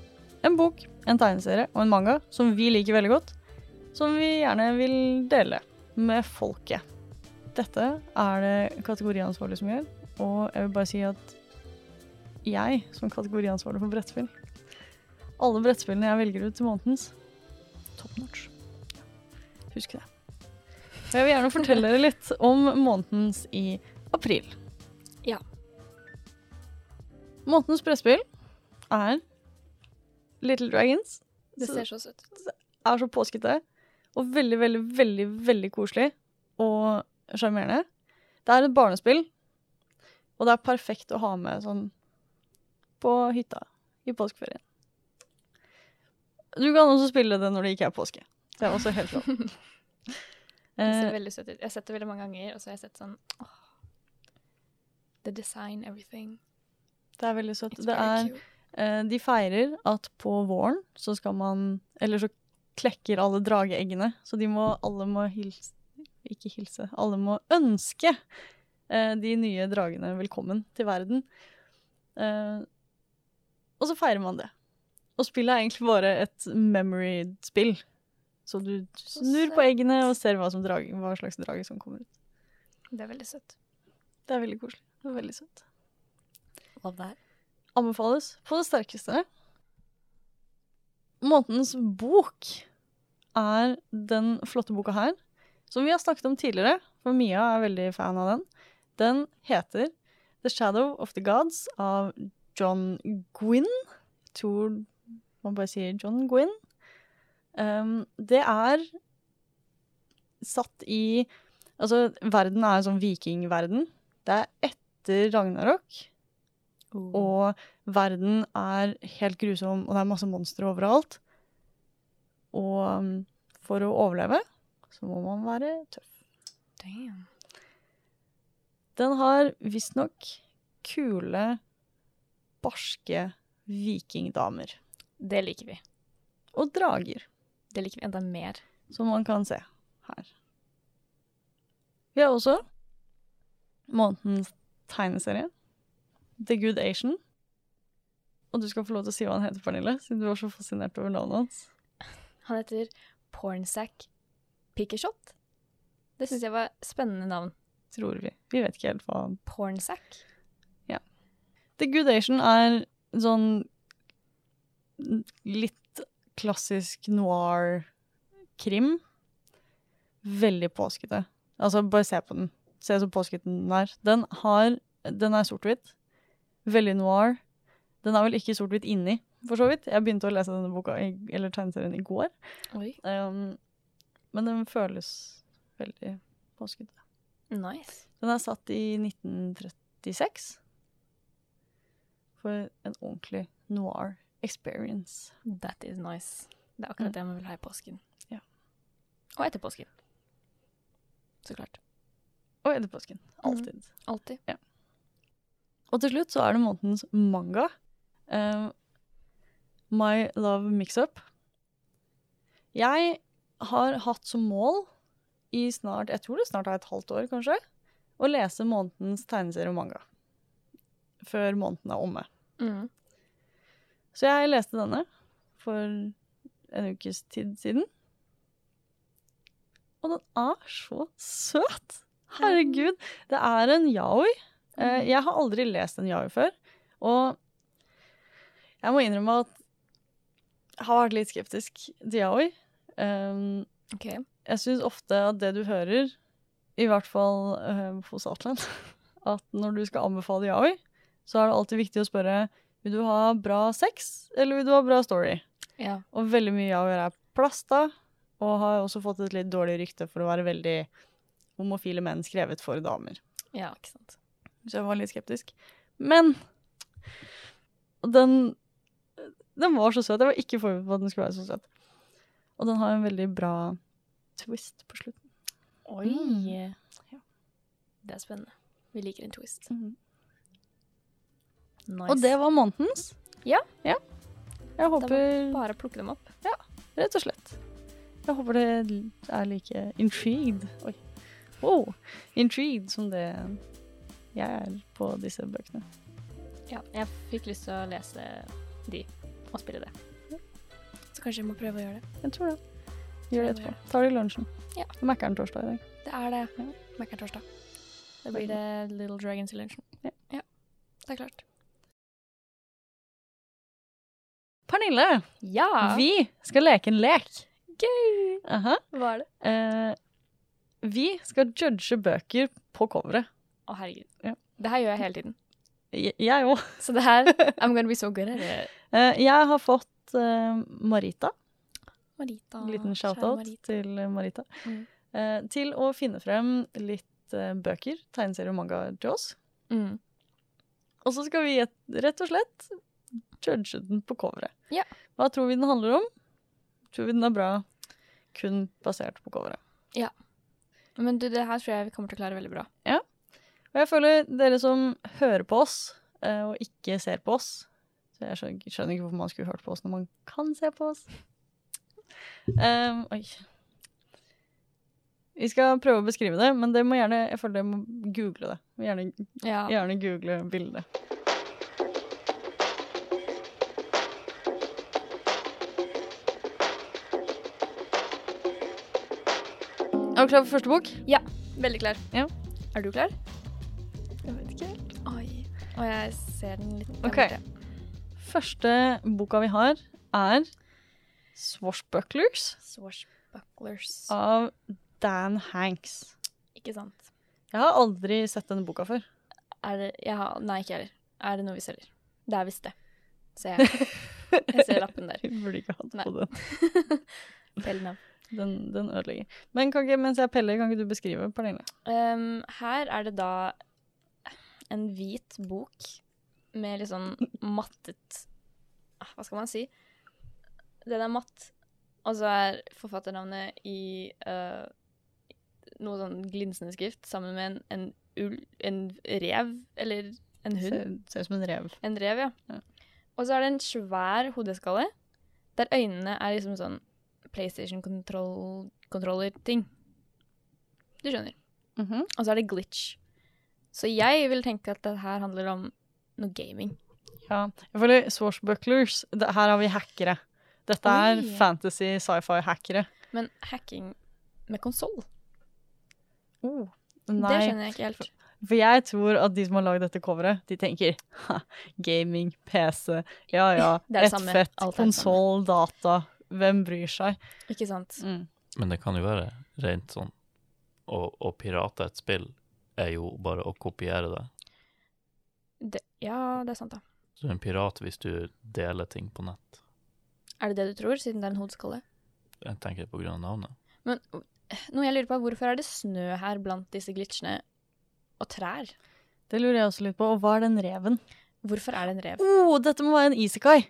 Speaker 1: en bok, en tegneserie og en manga som vi liker veldig godt, som vi gjerne vil dele med folket. Dette er det kategoriansvarlig som gjør, og jeg vil bare si at jeg, som kategoriansvarlig for brettspill, alle brettspillene jeg velger ut til månedens, top notch. Husk det. Og jeg vil gjerne fortelle dere litt om månedens i april.
Speaker 2: Ja.
Speaker 1: Månedens brettspill er Little Dragons.
Speaker 2: Det
Speaker 1: Så-
Speaker 2: ser så søtt ut.
Speaker 1: er så påskete og veldig, veldig, veldig, veldig koselig og sjarmerende. Det er et barnespill, og det er perfekt å ha med sånn på hytta i påskeferien. Du kan også spille det når det ikke er påske. Det er også helt lov.
Speaker 2: Det
Speaker 1: Eh,
Speaker 2: ser veldig søtt ut. Jeg har sett det veldig mange ganger, og så har jeg sett sånn åh, The design, everything.
Speaker 1: det er veldig søtt.
Speaker 2: It's
Speaker 1: Det
Speaker 2: very
Speaker 1: er
Speaker 2: cute.
Speaker 1: Eh, De feirer at på våren så skal man Eller så klekker alle drageeggene. Så de må, alle må hilse Ikke hilse. Alle må ønske eh, de nye dragene velkommen til verden. Eh, og så feirer man det. Og spillet er egentlig bare et memory-spill. Så du snur på
Speaker 2: søtt.
Speaker 1: eggene og ser hva, som drage, hva slags drage som kommer ut.
Speaker 2: Det er veldig søtt.
Speaker 1: Det er veldig koselig. Det er veldig søtt.
Speaker 2: Love that.
Speaker 1: anbefales på det sterkeste. Månedens bok er den flotte boka her, som vi har snakket om tidligere, for Mia er veldig fan av den. Den heter The Shadow of the Gods av John Gwynn. Jeg tror man bare sier John Gwynn. Um, det er satt i Altså, verden er en sånn vikingverden. Det er etter Ragnarok. Og verden er helt grusom, og det er masse monstre overalt. Og um, for å overleve så må man være tøff.
Speaker 2: Damn.
Speaker 1: Den har visstnok kule, barske vikingdamer.
Speaker 2: Det liker vi.
Speaker 1: Og drager,
Speaker 2: Det liker vi enda mer.
Speaker 1: som man kan se her. Vi har også månedens tegneserie, The Good Asian. Og du skal få lov til å si hva han heter, Pernille, siden du var så fascinert over navnet hans.
Speaker 2: Han heter Pornsack Pickershot. Det syns jeg var et spennende navn.
Speaker 1: tror vi. Vi vet ikke helt hva
Speaker 2: Pornsack.
Speaker 1: The Good Asian er sånn litt klassisk noir-krim. Veldig påskete. Altså, bare se på den. Se så påskete den er. Den, har, den er sort-hvitt. Veldig noir. Den er vel ikke sort-hvitt inni, for så vidt. Jeg begynte å lese denne boka, i, eller tegneserien, i går.
Speaker 2: Oi.
Speaker 1: Um, men den føles veldig påskete.
Speaker 2: Nice.
Speaker 1: Den er satt i 1936. For en ordentlig noir experience.
Speaker 2: That is nice. Det er akkurat
Speaker 1: Mm.
Speaker 2: det man vil ha i påsken.
Speaker 1: Ja.
Speaker 2: Og etter påsken. Så klart.
Speaker 1: Og etter påsken. Alltid.
Speaker 2: Alltid.
Speaker 1: Og til slutt så er det månedens manga. Eh, My Love Mix-Up. Jeg har hatt som mål i snart Jeg tror det snart er et halvt år, kanskje. Å lese månedens tegneserie og manga. Før måneden er omme.
Speaker 2: Mm.
Speaker 1: Så jeg leste denne for en ukes tid siden. Og den er så søt! Herregud. Det er en yaoi. Eh, Jeg har aldri lest en yaoi før. Og jeg må innrømme at jeg har vært litt skeptisk til yaoi. Um,
Speaker 2: OK.
Speaker 1: jeg syns ofte at det du hører, i hvert fall eh, hos Atlan, at når du skal anbefale yaoi, så er det alltid viktig å spørre vil du ha bra sex eller vil du ha bra story.
Speaker 2: Ja.
Speaker 1: Og veldig mye yaoi er plasta, og har også fått et litt dårlig rykte for å være veldig homofile menn skrevet for damer.
Speaker 2: ja, ikke sant.
Speaker 1: Så jeg var litt skeptisk. Men den, den var så søt. Jeg var ikke forberedt på at den skulle være så søt. Og den har en veldig bra twist på slutten.
Speaker 2: Oi.
Speaker 1: Mm. Ja.
Speaker 2: Det er spennende. Vi liker en twist. Nice.
Speaker 1: Og det var månedens.
Speaker 2: Ja.
Speaker 1: Jeg
Speaker 2: Da
Speaker 1: håper,
Speaker 2: må vi bare plukke dem opp.
Speaker 1: rett og slett. Jeg håper det er like intrigued Oi. Wow. Intrigued som det jeg er på disse bøkene.
Speaker 2: Ja, jeg fikk lyst til å lese de og spille det. Så kanskje jeg må prøve å gjøre det.
Speaker 1: Jeg tror det. Gjør det
Speaker 2: Tror jeg
Speaker 1: etterpå. Tar det i lunsjen.
Speaker 2: Ja.
Speaker 1: Det er Mækkern torsdag i dag.
Speaker 2: Det er det.
Speaker 1: Ja.
Speaker 2: Mekker torsdag. Da blir det Little Dragons i lunsjen.
Speaker 1: Ja.
Speaker 2: Det er klart.
Speaker 1: Pernille,
Speaker 2: Ja!
Speaker 1: vi skal leke en lek.
Speaker 2: Gøy!
Speaker 1: Aha.
Speaker 2: Hva er det?
Speaker 1: Eh, vi skal judge bøker på coveret.
Speaker 2: Å, herregud.
Speaker 1: Ja.
Speaker 2: Det her gjør jeg hele tiden.
Speaker 1: Jeg- Jeg òg.
Speaker 2: Så det her I'm gonna be so good at it.
Speaker 1: Eh, jeg har fått eh, Marita.
Speaker 2: Marita.
Speaker 1: En liten
Speaker 2: kjære
Speaker 1: shout-out
Speaker 2: Marita.
Speaker 1: til eh, Marita.
Speaker 2: Mm.
Speaker 1: Eh, til å finne frem litt eh, bøker, tegneserier og manga til oss.
Speaker 2: Mm.
Speaker 1: Og så skal vi gjette- rett og slett judge den på coveret.
Speaker 2: Ja.
Speaker 1: Hva tror vi den handler om? Tror vi den er bra kun basert på coveret?
Speaker 2: Men du, det her tror jeg vi kommer til å klare veldig bra.
Speaker 1: Og jeg føler dere som hører på oss eh, og ikke ser på oss så Jeg skjønner, skjønner ikke hvorfor man skulle hørt på oss når man kan se på oss. Ehm, oi. Vi skal prøve å beskrive det, men det må gjerne, jeg føler dere må google det. Gjerne,
Speaker 2: Ja.
Speaker 1: gjerne google bildet. Er du klar for første bok?
Speaker 2: Veldig klar.
Speaker 1: Ja.
Speaker 2: Er du klar?
Speaker 1: Jeg vet ikke.
Speaker 2: Oi. Og jeg ser den litt der
Speaker 1: Ok.
Speaker 2: borte.
Speaker 1: Første boka vi har, er Swashbucklers
Speaker 2: Swashbucklers.
Speaker 1: av Dan Hanks.
Speaker 2: Ikke sant.
Speaker 1: Jeg har aldri sett denne boka før.
Speaker 2: Er det jeg har, Nei, ikke jeg heller. Er det noe vi selger? Det er visst det. Ser jeg. Jeg ser lappen der.
Speaker 1: Vi burde ikke hatt
Speaker 2: Nei.
Speaker 1: på den.
Speaker 2: Feil navn.
Speaker 1: den. Den ødelegger. Men kan ikke, mens jeg peller, kan ikke du beskrive, Pernille?
Speaker 2: Ehm, her er det da en hvit bok med litt sånn mattet ah, Hva skal man si? Den er matt, og så er forfatternavnet i eh, noe sånn glinsende skrift sammen med en, en ull En rev, eller en hund.
Speaker 1: Ser, ser ut som en rev.
Speaker 2: En rev, ja.
Speaker 1: Ja.
Speaker 2: Og så er det en svær hodeskalle, der øynene er liksom sånn PlayStation-kontroller-ting. Du skjønner.
Speaker 1: Mhm.
Speaker 2: Og så er det glitch. Så jeg vil tenke at det her handler om noe gaming.
Speaker 1: Ja. Jeg føler Swashbucklers det, Her har vi hackere. Dette er
Speaker 2: Oi.
Speaker 1: fantasy sci-fi-hackere.
Speaker 2: Men hacking med konsoll,
Speaker 1: Oh.
Speaker 2: det
Speaker 1: Nei,
Speaker 2: skjønner jeg ikke helt.
Speaker 1: for jeg tror at de som har lagd dette coveret, de tenker ha, gaming, PC, ja ja,
Speaker 2: Det er det
Speaker 1: ett
Speaker 2: samme.
Speaker 1: fett,
Speaker 2: Alt er det samme.
Speaker 1: konsoll, data, hvem bryr seg?
Speaker 2: Ikke sant?
Speaker 3: Men det kan jo være rent sånn Å, å pirate et spill er jo bare å kopiere det.
Speaker 2: Det, ja, det er sant, da.
Speaker 3: Du er en pirat hvis du deler ting på nett.
Speaker 2: Er det det du tror, siden det er en hodeskalle?
Speaker 3: Jeg tenker på grunn av navnet.
Speaker 2: Men noe jeg lurer på, er hvorfor er det snø her blant disse glitchene og trær?
Speaker 1: Det lurer jeg også litt på. Og hva er den reven?
Speaker 2: Hvorfor er det en rev?
Speaker 1: Oh, dette må være en isekai!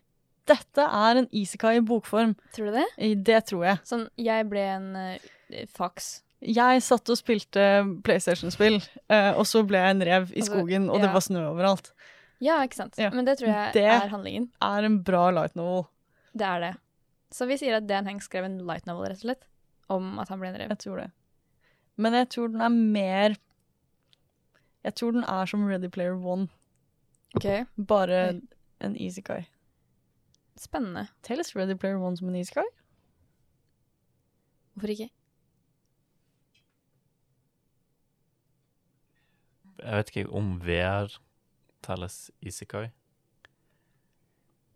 Speaker 1: Dette er en isekai i bokform.
Speaker 2: Tror du det?
Speaker 1: I- Det tror jeg.
Speaker 2: Sånn, jeg ble en eh, fax.
Speaker 1: Jeg satt og spilte PlayStation-spill, eh, og så ble jeg en rev i
Speaker 2: Altså,
Speaker 1: skogen, og det
Speaker 2: ja.
Speaker 1: var snø overalt.
Speaker 2: Ja, ikke sant?
Speaker 1: Ja.
Speaker 2: Men det tror jeg
Speaker 1: Det-
Speaker 2: er handlingen.
Speaker 1: Er en bra light novel.
Speaker 2: Det er det. Så vi sier at Dan Hanks skrev en light novel, rett og slett, om at han ble en rev.
Speaker 1: Jeg tror det. Men jeg tror den er mer Jeg tror den er som Ready Player One,
Speaker 2: Ok,
Speaker 1: bare
Speaker 2: Oi.
Speaker 1: en isekai.
Speaker 2: Spennende.
Speaker 1: Telles Ready Player One som en isekai?
Speaker 2: Hvorfor ikke?
Speaker 3: Jeg vet ikke om VR telles Isekai.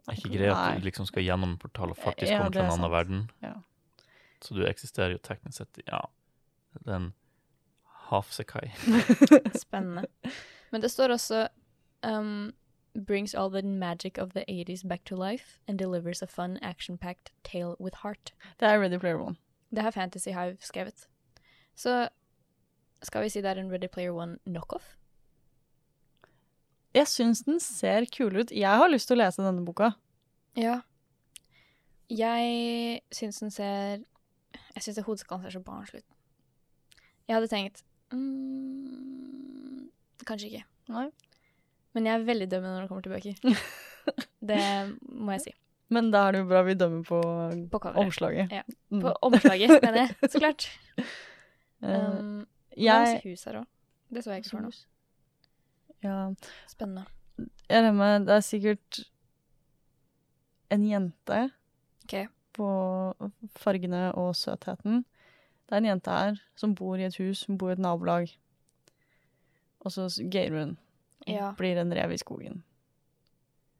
Speaker 3: Det er ikke greit at
Speaker 1: Nei.
Speaker 3: du liksom skal gjennom en portal og faktisk
Speaker 1: Ja,
Speaker 3: kommer til
Speaker 1: det
Speaker 3: en
Speaker 1: er
Speaker 3: annen verden.
Speaker 1: Ja.
Speaker 3: Så du eksisterer jo teknisk sett Ja, det er en Hafsekai.
Speaker 2: Spennende. Men det står også um, Brings all the magic of the 80s back to life and delivers a fun, action-packed tale with heart.
Speaker 1: Det er Ready Player One.
Speaker 2: Det har Fantasy Hive skrevet. Så skal vi si det er en Ready Player One knockoff?
Speaker 1: Jeg syns den ser kul ut. Jeg har lyst til å lese denne boka.
Speaker 2: Ja. Jeg syns den ser Jeg syns hodeskallen ser så barnslig ut. Jeg hadde tenkt mm, Kanskje ikke.
Speaker 1: Nei.
Speaker 2: Men jeg er veldig dømmende når det kommer til bøker. det må jeg si.
Speaker 1: Men da er det jo bra vi dømmer på
Speaker 2: På coveret.
Speaker 1: omslaget.
Speaker 2: Ja.
Speaker 1: Mm.
Speaker 2: På omslaget, mener jeg. Så klart.
Speaker 1: Eh,
Speaker 2: Um, Det er
Speaker 1: jeg
Speaker 2: masse hus her òg. Det så jeg ikke før nå.
Speaker 1: ja,
Speaker 2: Spennende.
Speaker 1: Jeg regner med det er sikkert en jente
Speaker 2: Ok.
Speaker 1: på fargene og søtheten. Det er en jente her som bor i et hus, hun bor i et nabolag. Og så s- gamer hun. og
Speaker 2: Ja.
Speaker 1: Blir en rev i skogen.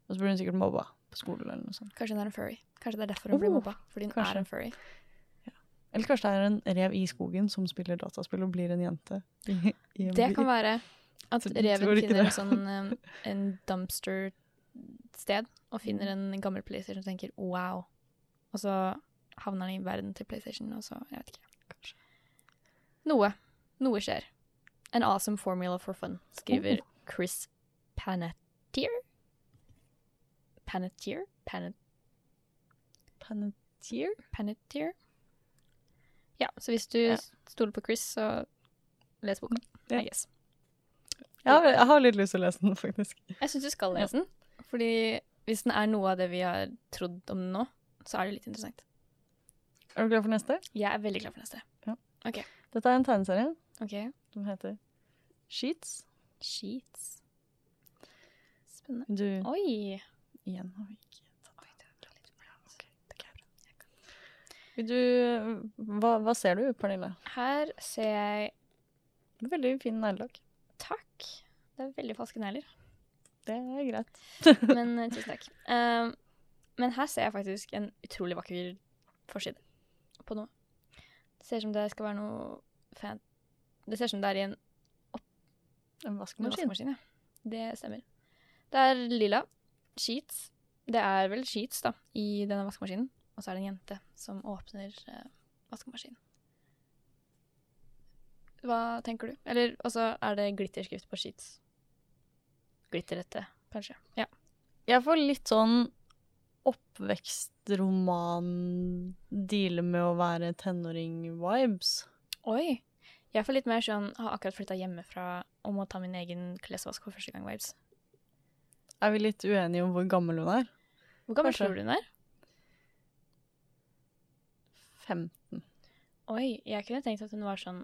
Speaker 1: Og så blir hun sikkert mobba på skolen eller noe sånt.
Speaker 2: Kanskje hun er en furry. Kanskje det er derfor hun blir
Speaker 1: Oh,
Speaker 2: mobba. Fordi hun
Speaker 1: kanskje.
Speaker 2: er en furry.
Speaker 1: Eller kanskje det er en rev i skogen som spiller dataspill og blir en jente. i- i en
Speaker 2: Det
Speaker 1: by.
Speaker 2: kan være at
Speaker 1: Så Altså, du
Speaker 2: reven
Speaker 1: tror ikke
Speaker 2: finner
Speaker 1: det?
Speaker 2: en sånn um, en dumpster-sted, og finner en gammel PlayStation og tenker 'wow', og så havner den i verden til PlayStation, og så Jeg vet ikke.
Speaker 1: Kanskje.
Speaker 2: Noe. Noe skjer. An awesome
Speaker 1: Oh.
Speaker 2: formula for fun, skriver Chris Panettier. Paneteer? Panet
Speaker 1: Paneteer?
Speaker 2: Paneteer? Ja, så hvis du
Speaker 1: Ja.
Speaker 2: s- stoler på Chris, så les boken,
Speaker 1: Ja.
Speaker 2: I guess.
Speaker 1: Ja, jeg har litt lyst til å lese den, faktisk.
Speaker 2: Jeg syns du skal lese den. Fordi hvis den er noe av det vi har trodd om den nå, så er det litt interessant.
Speaker 1: Er du klar for neste?
Speaker 2: Jeg er veldig glad for neste.
Speaker 1: Dette er en tegneserie
Speaker 2: OK.
Speaker 1: som heter Sheets.
Speaker 2: Sheets. Spennende.
Speaker 1: Du
Speaker 2: Oi!
Speaker 1: igjen har vi ikke tatt Vil du hva, hva ser du, Pernille?
Speaker 2: Her ser jeg
Speaker 1: Veldig fin neglelakk.
Speaker 2: Takk. Det er veldig falske negler.
Speaker 1: Det er greit.
Speaker 2: Men eh, tusen takk. Um, men her ser jeg faktisk en utrolig vakker forside på noe. Det ser ut som det skal være noe fan... Det ser ut som det er i en
Speaker 1: En vaskemaskin.
Speaker 2: Vaskemaskin, ja. Det stemmer. Det er lilla. Sheets. Det er vel sheets, da, i denne vaskemaskinen. Og så er det en jente som åpner eh, vaskemaskinen. Hva tenker du? Eller, og så er det glitterskrift på sheets. Glitterete, kanskje. Ja.
Speaker 1: Jeg får litt sånn oppvekstroman deale med å være tenåring-vibes.
Speaker 2: Oi! Jeg får litt mer sånn har akkurat flytta hjemmefra og må ta min egen klesvask for første gang vibes.
Speaker 1: Er vi litt uenige om hvor gammel hun er?
Speaker 2: Hvor gammel
Speaker 1: Kanskje.
Speaker 2: tror du hun er?
Speaker 1: 15.
Speaker 2: Oi, jeg kunne tenkt at hun var sånn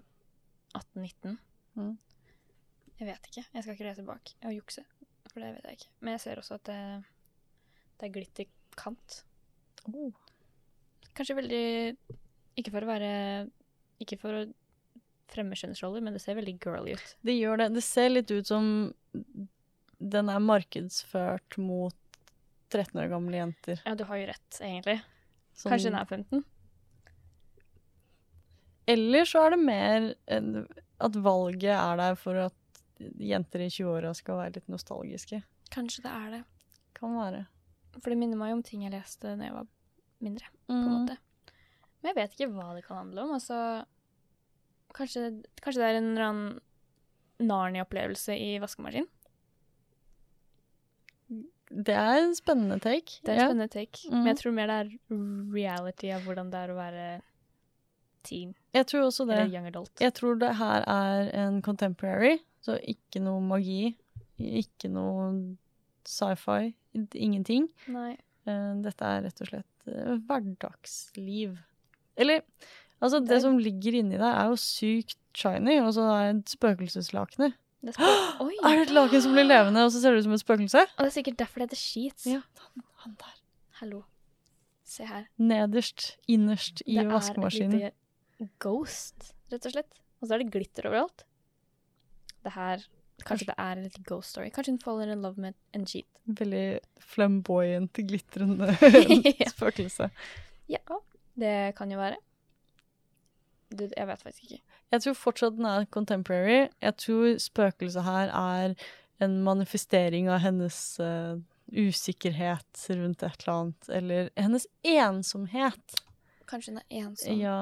Speaker 2: 18-19.
Speaker 1: Mm.
Speaker 2: Jeg vet ikke. Jeg skal ikke lese bak og jukse, for det vet jeg ikke. Men jeg ser også at det, det er glitterkant.
Speaker 1: Oh.
Speaker 2: Kanskje veldig Ikke for å være Ikke for å fremme kjønnsroller, men det ser veldig girly ut.
Speaker 1: Det gjør det. Det ser litt ut som den er markedsført mot 13 år gamle jenter.
Speaker 2: Ja, du har jo rett, egentlig.
Speaker 1: Sånn-
Speaker 2: Kanskje hun er 15?
Speaker 1: Eller så er det mer en- at valget er der for at jenter i 20-åra skal være litt nostalgiske.
Speaker 2: Kanskje det er det.
Speaker 1: Kan være.
Speaker 2: For det minner meg om ting jeg leste da jeg var mindre. på en måte. Mm. Men jeg vet ikke hva det kan handle om. Altså, kanskje, kanskje det er en eller annen Narnia-opplevelse i vaskemaskin.
Speaker 1: Det er en spennende take.
Speaker 2: Det er en
Speaker 1: Ja.
Speaker 2: spennende take.
Speaker 1: Mhm.
Speaker 2: Men jeg tror mer det er reality av hvordan det er å være teen
Speaker 1: Jeg tror også
Speaker 2: eller
Speaker 1: det.
Speaker 2: young adult.
Speaker 1: Jeg tror det her er en contemporary, så ikke noe magi. Ikke noe sci-fi. Ingenting.
Speaker 2: Nei.
Speaker 1: Eh, Dette er rett og slett eh, hverdagsliv. Eller altså,
Speaker 2: Det er-
Speaker 1: det som ligger inni der, er jo sykt shiny, og så er det spøkelseslakenet.
Speaker 2: Det er spennende. Oi!
Speaker 1: Er det et laken som blir levende, og så ser det ut som et spøkelse?
Speaker 2: Og det er sikkert derfor det heter sheets.
Speaker 1: Ja, han, han der.
Speaker 2: Hallo. Se her.
Speaker 1: Nederst, innerst i
Speaker 2: Det er et
Speaker 1: vaskemaskinen.
Speaker 2: lite ghost, rett og slett. Og så er det glitter overalt. Det her Kanskje det er en liten ghost story. Kanskje hun faller in love med en sheet.
Speaker 1: Veldig flamboyant, glitrende
Speaker 2: Ja.
Speaker 1: spøkelse.
Speaker 2: Ja, det kan jo være. Du, jeg vet faktisk ikke.
Speaker 1: Jeg tror fortsatt den er contemporary. Jeg tror spøkelset her er en manifestering av hennes eh, usikkerhet rundt et eller annet, eller hennes ensomhet.
Speaker 2: Kanskje hun er ensom.
Speaker 1: Ja.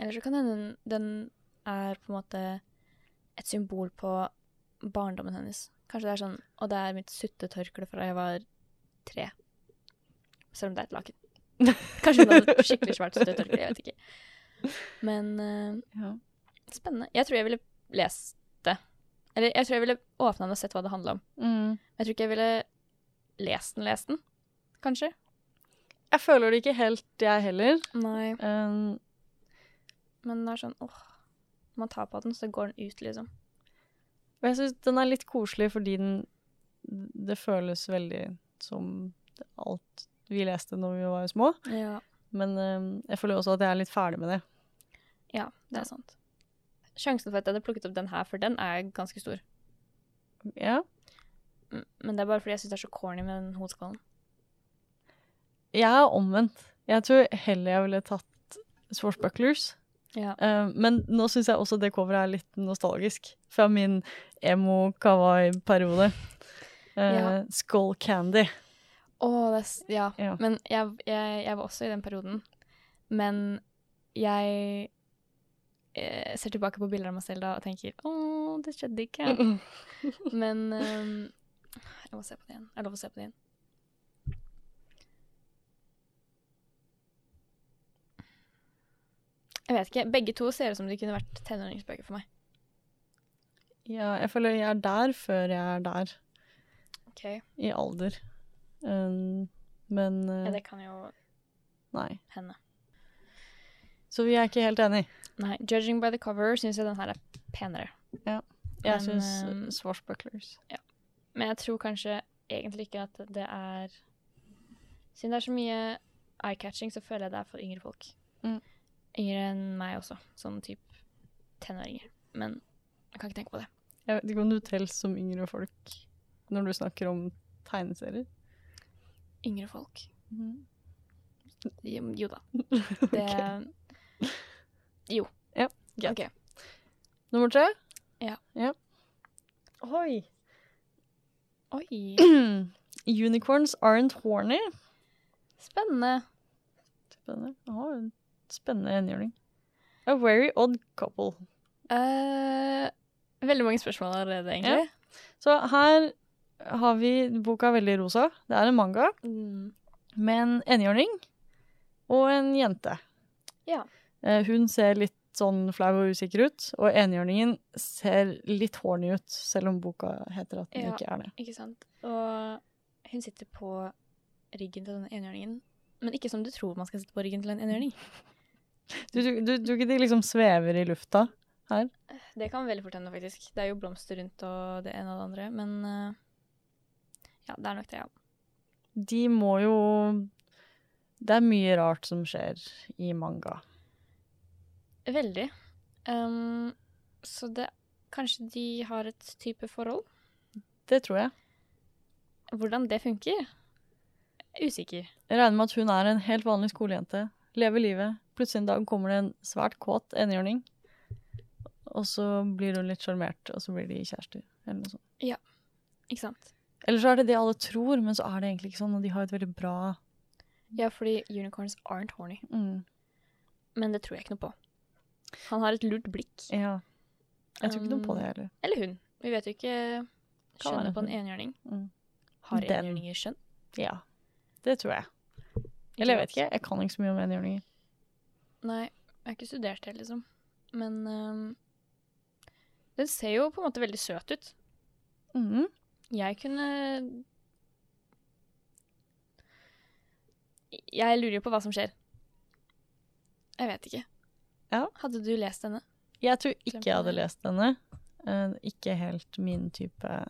Speaker 2: Eller så kan hende den- den er på en måte et symbol på barndommen hennes. Kanskje det er sånn Og det er mitt suttetørkle fra jeg var tre. Selv om det er et laken. Kanskje hun hadde et skikkelig svært suttetørkle. Jeg vet ikke. Men eh,
Speaker 1: ja.
Speaker 2: spennende. Jeg tror jeg ville lest det. Eller jeg tror jeg ville åpna den og sett hva det handla om.
Speaker 1: Mm.
Speaker 2: Jeg tror ikke jeg ville lest den, lest den. Kanskje.
Speaker 1: Jeg føler det ikke helt, jeg heller.
Speaker 2: Nei.
Speaker 1: Um,
Speaker 2: Men det er sånn, åh, når man tar på den, så går den ut, liksom.
Speaker 1: Og jeg syns den er litt koselig fordi den Det føles veldig som alt vi leste når vi var små.
Speaker 2: Ja.
Speaker 1: Men eh, jeg føler også at jeg er litt ferdig med det.
Speaker 2: Ja, det er sant. Sjansen for at jeg hadde plukket opp den her, for den er ganske stor.
Speaker 1: Ja.
Speaker 2: M- Men det er bare fordi jeg synes det er så corny med den hodeskallen.
Speaker 1: Jeg er omvendt. Jeg tror heller jeg ville tatt Swart Bucklers.
Speaker 2: Ja.
Speaker 1: Eh, men nå syns jeg også det coveret er litt nostalgisk. Fra min emo-kawaii-periode. Eh,
Speaker 2: Ja.
Speaker 1: Skull Candy.
Speaker 2: Åh, det er, s- ja.
Speaker 1: Ja.
Speaker 2: Men jeg, jeg, jeg var også i den perioden. Men jeg eh, ser tilbake på bilder av meg selv da og tenker, åh, det skjedde ikke. Men ehm, jeg må se på det igjen. Er det lov å se på det igjen? Jeg vet ikke. Begge to ser ut som de kunne vært tenåringsbøker for meg.
Speaker 1: Ja, jeg føler jeg er der før jeg er der,
Speaker 2: Ok.
Speaker 1: i alder. Um, men eh,
Speaker 2: Ja, det kan jo
Speaker 1: Nei.
Speaker 2: hende.
Speaker 1: Så vi er ikke helt enige.
Speaker 2: Nei, judging by the cover syns jeg den her er penere.
Speaker 1: Jeg
Speaker 2: Men,
Speaker 1: syns
Speaker 2: eh,
Speaker 1: ehm, Swashbucklers.
Speaker 2: Men jeg tror kanskje egentlig ikke at det er Siden det er så mye eye-catching, så føler jeg det er for yngre folk.
Speaker 1: Mm.
Speaker 2: Yngre enn meg også, sånn type tenåringer. Men jeg kan ikke tenke på det.
Speaker 1: Jeg vet ikke om du telles som yngre folk når du snakker om tegneserier.
Speaker 2: Yngre folk.
Speaker 1: Mhm.
Speaker 2: Jo, jo da. Det Jo.
Speaker 1: Ja, greit.
Speaker 2: Ok.
Speaker 1: Nummer tre?
Speaker 2: Ja.
Speaker 1: Oi.
Speaker 2: Oi.
Speaker 1: Unicorns aren't horny.
Speaker 2: Spennende.
Speaker 1: Spennende. Aha, en spennende enhjørning. A very odd couple.
Speaker 2: Eh, veldig mange spørsmål allerede, egentlig.
Speaker 1: Så her har vi boka er veldig rosa. Det er en manga
Speaker 2: Mm.
Speaker 1: med en enhjørning og en jente.
Speaker 2: Ja.
Speaker 1: Eh, Hun ser litt sånn flau og usikker ut, og enhjørningen ser litt horny ut, selv om boka heter at den
Speaker 2: Ja.
Speaker 1: ikke er det.
Speaker 2: Ikke sant? Og hun sitter på ryggen til denne enhjørningen. Men ikke som du tror man skal sitte på ryggen til en enhjørning.
Speaker 1: Du du- du tror ikke de liksom svever i lufta?
Speaker 2: Det kan veldig fort hende, faktisk. Det er jo blomster rundt og det ene og det andre, men eh, Ja, det er nok det, ja.
Speaker 1: De må jo Det er mye rart som skjer i manga.
Speaker 2: Veldig. Ehm, så det Kanskje de har et type forhold?
Speaker 1: Det tror jeg.
Speaker 2: Hvordan det funker? Usikker.
Speaker 1: Jeg regner med at hun er en helt vanlig skolejente. Lever livet. Plutselig en dag kommer det en svært kåt enhjørning. Og så blir hun litt sjarmert, og så blir de kjærester. Eller noe sånt.
Speaker 2: Ikke sant?
Speaker 1: Eller så er det det alle tror, men så er det egentlig ikke sånn. Og de har et veldig bra
Speaker 2: Ja, fordi unicorns aren't horny.
Speaker 1: mm,
Speaker 2: Men det tror jeg ikke noe på. Han har et lurt blikk.
Speaker 1: Ja. Jeg tror ikke noe på
Speaker 2: Um,
Speaker 1: det heller.
Speaker 2: Eller hun. Vi vet jo ikke
Speaker 1: Kan være
Speaker 2: skjønnet på en
Speaker 1: hun.
Speaker 2: enhjørning.
Speaker 1: Mm.
Speaker 2: Har
Speaker 1: Den.
Speaker 2: enhjørninger skjønn?
Speaker 1: Ja. Det tror jeg. Eller jeg vet ikke. Jeg kan ikke så mye om enhjørninger.
Speaker 2: Nei, jeg har ikke studert det, liksom. Men øhm, den ser jo på en måte veldig søt ut.
Speaker 1: Mhm.
Speaker 2: Jeg kunne Jeg lurer jo på hva som skjer. Jeg vet ikke.
Speaker 1: Ja.
Speaker 2: Hadde du lest denne?
Speaker 1: Jeg tror ikke jeg hadde
Speaker 2: Kjempe-
Speaker 1: lest denne. Eh, ikke helt min type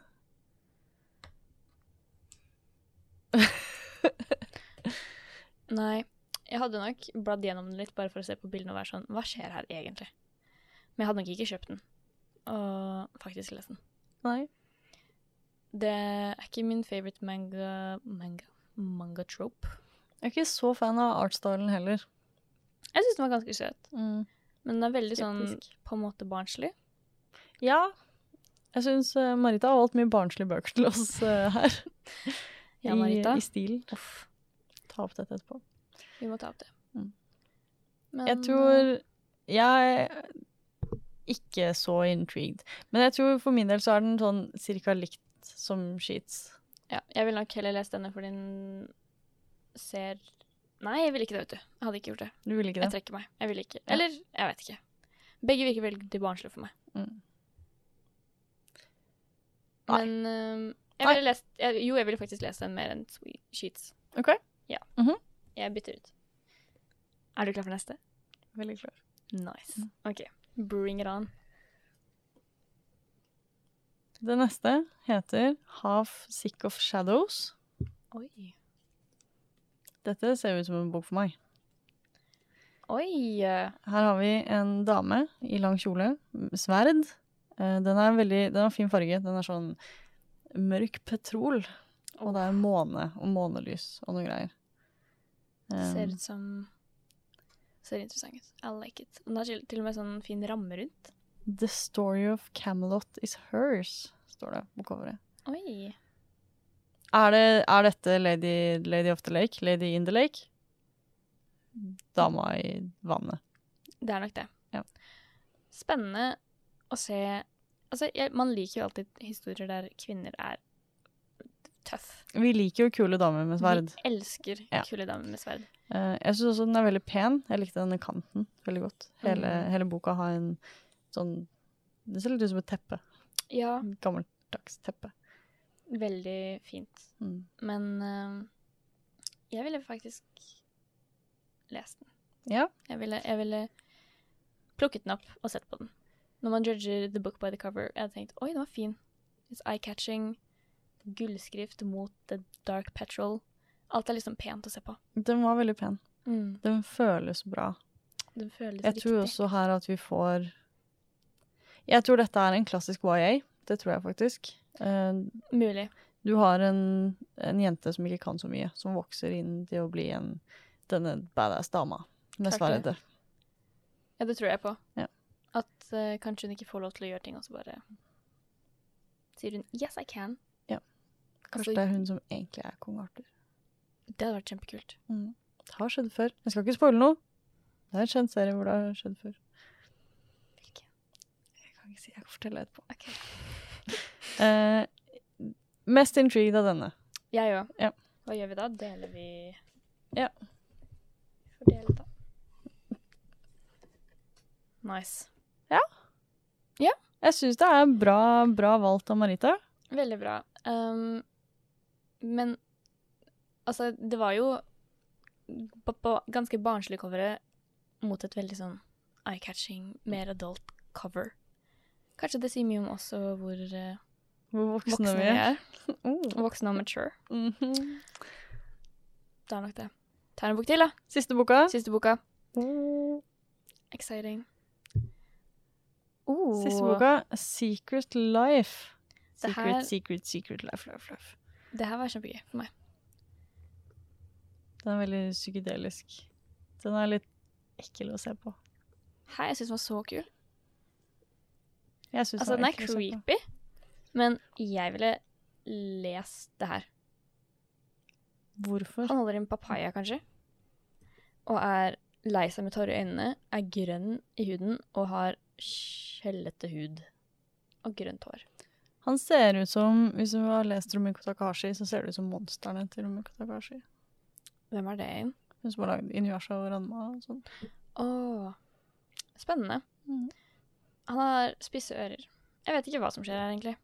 Speaker 2: Nei. Jeg hadde nok bladd gjennom den litt bare for å se på bildene og være sånn Hva skjer her egentlig? Men jeg hadde nok ikke kjøpt den og faktisk lest den.
Speaker 1: Nei.
Speaker 2: Det er ikke min favorite manga manga, manga trope.
Speaker 1: Jeg er ikke så fan av artstylen heller.
Speaker 2: Jeg syns den var ganske søt,
Speaker 1: Mm.
Speaker 2: men den er veldig sånn
Speaker 1: Typisk.
Speaker 2: på en måte barnslig.
Speaker 1: Ja. Jeg syns eh, Marita har valgt mye barnslige bøker til oss eh, her.
Speaker 2: Ja, Marita.
Speaker 1: I, I stil.
Speaker 2: Uff,
Speaker 1: Ta opp dette etterpå.
Speaker 2: vi må ta opp det.
Speaker 1: Mm.
Speaker 2: Men,
Speaker 1: Jeg tror Jeg er ikke så intrigued. Men jeg tror for min del så er den sånn cirka likt som Sheets.
Speaker 2: ja, Jeg vil nok heller lese denne, for den ser Nei, jeg ville ikke det, vet du. Jeg hadde ikke gjort det.
Speaker 1: Du ville ikke
Speaker 2: Jeg
Speaker 1: det?
Speaker 2: trekker meg. Jeg ville ikke. Eller, jeg vet ikke. Begge virker veldig barnslige for meg.
Speaker 1: Mm. Nei.
Speaker 2: Men øhm, jeg ville lest jeg, Jo, jeg ville faktisk lest den mer enn Sweet Sheets.
Speaker 1: OK. Mhm.
Speaker 2: Jeg bytter ut. Er du klar for neste?
Speaker 1: Veldig klar.
Speaker 2: Nice.
Speaker 1: Mm.
Speaker 2: OK. Bring it on.
Speaker 1: Det neste heter Half Sick of Shadows.
Speaker 2: Oi.
Speaker 1: Dette ser ut som en bok for meg.
Speaker 2: Oi. eh,
Speaker 1: Her har vi en dame i lang kjole, m- sverd. Eh, Den er veldig, den har fin farge. Den er sånn mørk petrol. Og det er en måne og månelys og noe greier. Eh,
Speaker 2: Ser ut som Ser interessant ut. I like it. Den har til til og med sånn fin ramme rundt.
Speaker 1: The story of Camelot is hers, står det på coveret.
Speaker 2: Oi.
Speaker 1: Er, det, er dette lady, lady of the Lake? Lady in the Lake? Dama i vannet.
Speaker 2: Det er nok det.
Speaker 1: Ja.
Speaker 2: Spennende å se Altså, jeg, man liker jo alltid historier der kvinner er tøff.
Speaker 1: Vi liker jo kule damer med sverd.
Speaker 2: Vi elsker
Speaker 1: Ja.
Speaker 2: kule damer med sverd.
Speaker 1: Eh, jeg syns også den er veldig pen. Jeg likte denne kanten veldig godt. Hele,
Speaker 2: Mm.
Speaker 1: hele boka har en sånn Det ser litt ut som et teppe.
Speaker 2: Ja,
Speaker 1: Et Gammeldags teppe.
Speaker 2: veldig fint.
Speaker 1: Mm.
Speaker 2: Men eh, jeg ville faktisk lest den.
Speaker 1: Ja.
Speaker 2: Jeg ville, jeg ville plukket den opp og sett på den. Når man judger the book by the cover, jeg hadde tenkt oi, den var fin. It's eye-catching. Gullskrift mot the dark petrol. Alt er liksom pent å se på.
Speaker 1: Den var veldig pen.
Speaker 2: Mm.
Speaker 1: Den føles bra.
Speaker 2: Den føles
Speaker 1: Jeg
Speaker 2: riktig.
Speaker 1: tror også her at vi får Jeg tror dette er en klassisk YA. Det tror jeg faktisk. Eh,
Speaker 2: Mulig.
Speaker 1: Du har en, en jente som ikke kan så mye, som vokser inn til å bli en, denne badass dama. Med
Speaker 2: Klart
Speaker 1: sverdet.
Speaker 2: Ja, det tror jeg på.
Speaker 1: Ja.
Speaker 2: At eh, kanskje hun ikke får lov til å gjøre ting, og så bare sier hun 'yes, I can'.
Speaker 1: Ja. Kanskje
Speaker 2: Altså,
Speaker 1: det er hun som egentlig er kong Arthur. Mm.
Speaker 2: Det hadde vært kjempekult.
Speaker 1: Det har skjedd før. Jeg skal ikke spoile noe. Det er en kjent serie hvor det har skjedd før.
Speaker 2: Hvilken?
Speaker 1: Jeg kan ikke si, jeg kan fortelle etterpå.
Speaker 2: Ok.
Speaker 1: Eh, mest intrigued av denne.
Speaker 2: Jeg òg.
Speaker 1: Ja.
Speaker 2: Hva gjør vi da? Deler vi
Speaker 1: Ja.
Speaker 2: Vi får dele, da. Nice.
Speaker 1: Jeg syns det er bra, bra valgt av Marita.
Speaker 2: Veldig bra. Um, men altså, det var jo på, på ganske barnslig coveret mot et veldig sånn eye-catching, mer adult cover. Kanskje det sier mye om også hvor eh,
Speaker 1: Hvor voksne,
Speaker 2: voksne
Speaker 1: vi
Speaker 2: vi
Speaker 1: er.
Speaker 2: er.
Speaker 1: Oh.
Speaker 2: Voksne og mature.
Speaker 1: Mhm.
Speaker 2: Det er nok det. Ta en bok til, da.
Speaker 1: Siste boka.
Speaker 2: Siste boka.
Speaker 1: Oh.
Speaker 2: Exciting.
Speaker 1: Siste boka, Secret Life.
Speaker 2: Det
Speaker 1: Secret,
Speaker 2: her-
Speaker 1: secret, secret life, life, life.
Speaker 2: Det her var kjempegøy for meg.
Speaker 1: Den er veldig psykedelisk. Den er litt ekkel å se på.
Speaker 2: Hei, jeg syns den var så kul.
Speaker 1: Jeg synes
Speaker 2: Altså, den er
Speaker 1: ekkel å se på.
Speaker 2: creepy, men jeg ville lest det her.
Speaker 1: Hvorfor?
Speaker 2: Han holder i en papaya, kanskje. Og er lei seg med tårer i øynene, er grønn i huden og har skjellete hud. Og grønt hår.
Speaker 1: Han ser ut som, hvis du har lest Romiko Takashi, så ser det ut som monsterne til Romiko Takashi.
Speaker 2: Hvem er det igjen?
Speaker 1: Hun som har lagd Inuyasha og Ranma og sånn.
Speaker 2: Å Spennende.
Speaker 1: Mhm.
Speaker 2: Han har spisse ører. Jeg vet ikke hva som skjer her, egentlig.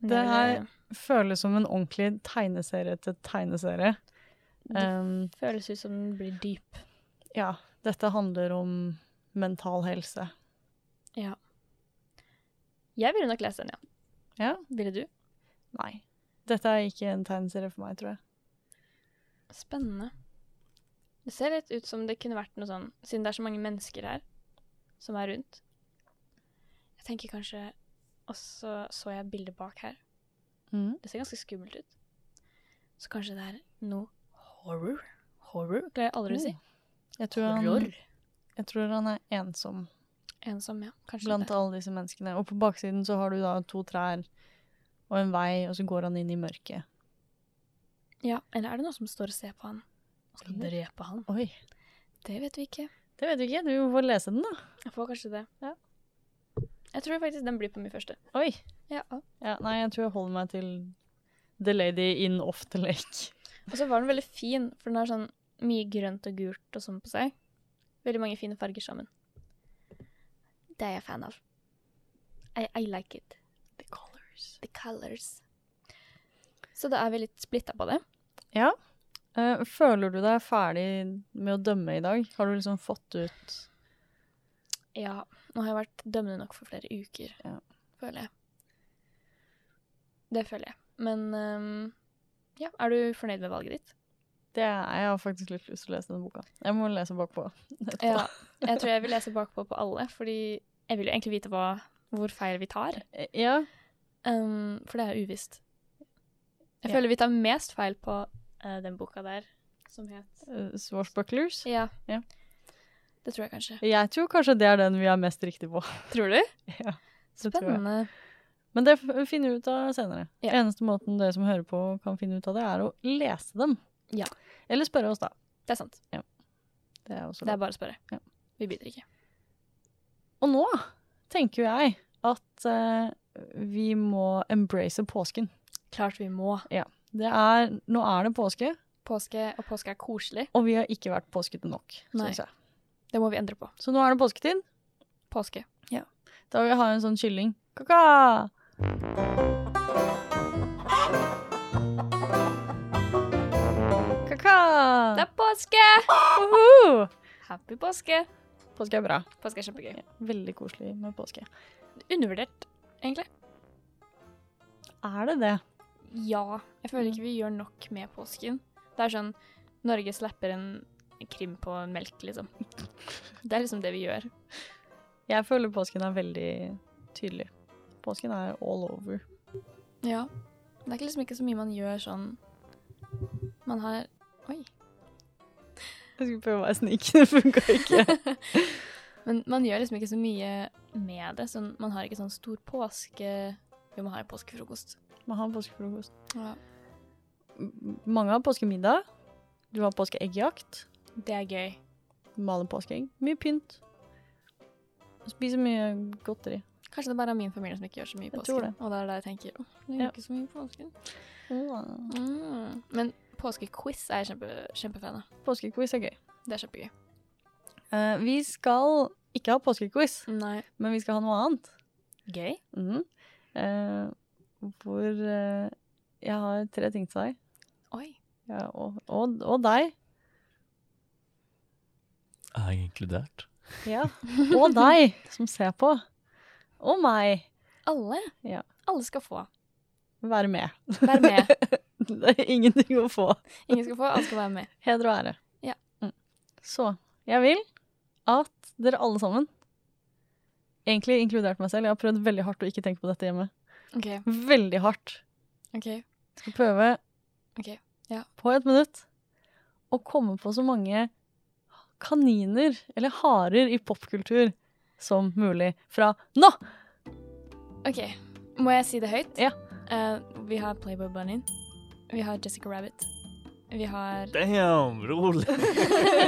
Speaker 2: Men
Speaker 1: Det
Speaker 2: jeg eh, ville-
Speaker 1: Føles som en ordentlig tegneserie til tegneserie. Um,
Speaker 2: føles ut som den blir dyp.
Speaker 1: ja, dette handler om mental helse.
Speaker 2: Jeg ville nok lest den, ja.
Speaker 1: Ja?
Speaker 2: Ville du?
Speaker 1: Nei. Dette er ikke en tegneserie for meg, tror jeg.
Speaker 2: Spennende. Det ser litt ut som det kunne vært noe sånn, siden det er så mange mennesker her som er rundt. Jeg tenker kanskje Og så så jeg et bilde bak her.
Speaker 1: Mhm.
Speaker 2: Det ser ganske skummelt ut. Så kanskje det er noe horror? Horror greier jeg aldri å si.
Speaker 1: Mm. Jeg tror, han, jeg tror han er ensom
Speaker 2: Ensom, ja. Kanskje
Speaker 1: blant
Speaker 2: det.
Speaker 1: alle disse menneskene. Og på baksiden så har du da to trær og en vei, og så går han inn i mørket.
Speaker 2: Ja, Eller er det noen som står og ser på han? Og skal drepe han?
Speaker 1: Oi,
Speaker 2: Det vet vi ikke.
Speaker 1: det vet du ikke. Du får lese den, da.
Speaker 2: Jeg får kanskje det.
Speaker 1: Ja.
Speaker 2: Jeg tror faktisk den blir på min første.
Speaker 1: Oi.
Speaker 2: Ja.
Speaker 1: Ja, nei, jeg tror jeg holder meg til The Lady in Off the Lake.
Speaker 2: Og så var den veldig fin, for den har sånn mye grønt og gult og sånn på seg. Veldig mange fine farger sammen. Det er jeg fan av. I, I like it.
Speaker 1: The Colors.
Speaker 2: The colors. Så da er vi litt splitta på det.
Speaker 1: Ja. Eh, føler du deg ferdig med å dømme i dag? Har du liksom fått ut
Speaker 2: Ja, nå har jeg vært dømmende nok for flere uker,
Speaker 1: Ja.
Speaker 2: føler jeg. Det føler jeg. Men øhm, ja, er du fornøyd med valget ditt?
Speaker 1: Det er, Jeg har faktisk litt lyst til å lese denne boka. Jeg må lese bakpå. etterpå.
Speaker 2: Ja. Jeg tror jeg vil lese bakpå på alle, fordi jeg vil jo egentlig vite hva, hvor feil vi tar.
Speaker 1: eh, ja.
Speaker 2: Um, for det er uvisst. Jeg
Speaker 1: Ja.
Speaker 2: føler vi tar mest feil på eh, den boka der, som het
Speaker 1: eh, Swashbucklers.
Speaker 2: ja.
Speaker 1: Ja.
Speaker 2: Det tror jeg kanskje.
Speaker 1: Jeg tror kanskje det er den vi er mest riktig på.
Speaker 2: Tror du?
Speaker 1: Ja, det tror jeg.
Speaker 2: Spennende.
Speaker 1: Men det f- finner vi ut av senere.
Speaker 2: Ja.
Speaker 1: Eneste måten dere som hører på kan finne ut av det, er å lese dem.
Speaker 2: Ja.
Speaker 1: Eller spørre oss, da.
Speaker 2: Det er sant.
Speaker 1: Det er også
Speaker 2: Det
Speaker 1: lov.
Speaker 2: er bare å spørre.
Speaker 1: Ja.
Speaker 2: Vi biter ikke.
Speaker 1: Og nå tenker jo jeg at eh, vi må embrace påsken.
Speaker 2: Klart vi må.
Speaker 1: Det er, nå er det påske,
Speaker 2: Påske og påske er koselig.
Speaker 1: og vi har ikke vært påskete nok.
Speaker 2: Nei.
Speaker 1: Synes jeg.
Speaker 2: Det må vi endre på.
Speaker 1: Så nå er det påsketid.
Speaker 2: Påske.
Speaker 1: Da vil jeg ha en sånn kylling. Kaka! Kaka!
Speaker 2: Det er påske!
Speaker 1: Woohoo!
Speaker 2: Happy påske.
Speaker 1: Påske er bra.
Speaker 2: Påske er kjempegøy.
Speaker 1: Veldig koselig med påske.
Speaker 2: Undervurdert, egentlig.
Speaker 1: Er det det?
Speaker 2: Ja. Jeg føler ikke vi gjør nok med påsken. Det er sånn Norge slapper en krim på en melk, liksom. Det er liksom det vi gjør.
Speaker 1: Jeg føler påsken er veldig tydelig. Påsken er all over.
Speaker 2: Ja. Det er ikke liksom ikke så mye man gjør sånn Man har Oi.
Speaker 1: Jeg skulle prøve å være snik, det funka ikke.
Speaker 2: Men man gjør liksom ikke så mye med det. Sånn, man har ikke sånn stor påske Jo, man har jo påskefrokost.
Speaker 1: Man har påskefrokost.
Speaker 2: Ja.
Speaker 1: M- Mange har påskemiddag. Du har påskeeggjakt.
Speaker 2: Det er gøy.
Speaker 1: Maler påskeegg. Mye pynt. Spiser mye godteri.
Speaker 2: Kanskje det bare er min familie som ikke gjør så mye i
Speaker 1: Jeg
Speaker 2: påsken.
Speaker 1: tror det.
Speaker 2: Og det er da jeg tenker åh, det gjør
Speaker 1: Ja.
Speaker 2: ikke så mye i påsken. Mm. Men påskequiz er jeg kjempe, kjempefan av.
Speaker 1: Påskequiz er gøy.
Speaker 2: Det er kjempegøy.
Speaker 1: Eh, vi skal ikke ha påskequiz,
Speaker 2: Nei.
Speaker 1: men vi skal ha noe annet.
Speaker 2: Gøy?
Speaker 1: Mhm. Eh, hvor eh, jeg har tre ting til deg.
Speaker 2: Oi.
Speaker 1: Ja, og, og, og deg.
Speaker 3: Er jeg inkludert?
Speaker 1: Ja. Og deg som ser på. Og meg.
Speaker 2: Alle?
Speaker 1: Ja.
Speaker 2: Alle skal få.
Speaker 1: Være med.
Speaker 2: Vær med.
Speaker 1: Det er ingenting å få.
Speaker 2: Ingen skal få, alle skal være med.
Speaker 1: Heder og ære.
Speaker 2: Ja.
Speaker 1: Mm. Så jeg vil at dere alle sammen, egentlig inkludert meg selv Jeg har prøvd veldig hardt å ikke tenke på dette hjemme.
Speaker 2: OK.
Speaker 1: Veldig hardt.
Speaker 2: ok.
Speaker 1: Skal prøve
Speaker 2: Ok, ja.
Speaker 1: på et minutt å komme på så mange kaniner eller harer i popkultur som mulig fra nå!
Speaker 2: Ok, må jeg si det høyt?
Speaker 1: Ja.
Speaker 2: Eh, vi har Playboy Bunny. Vi har Jessica Rabbit. Vi har,
Speaker 3: Damn, rolig!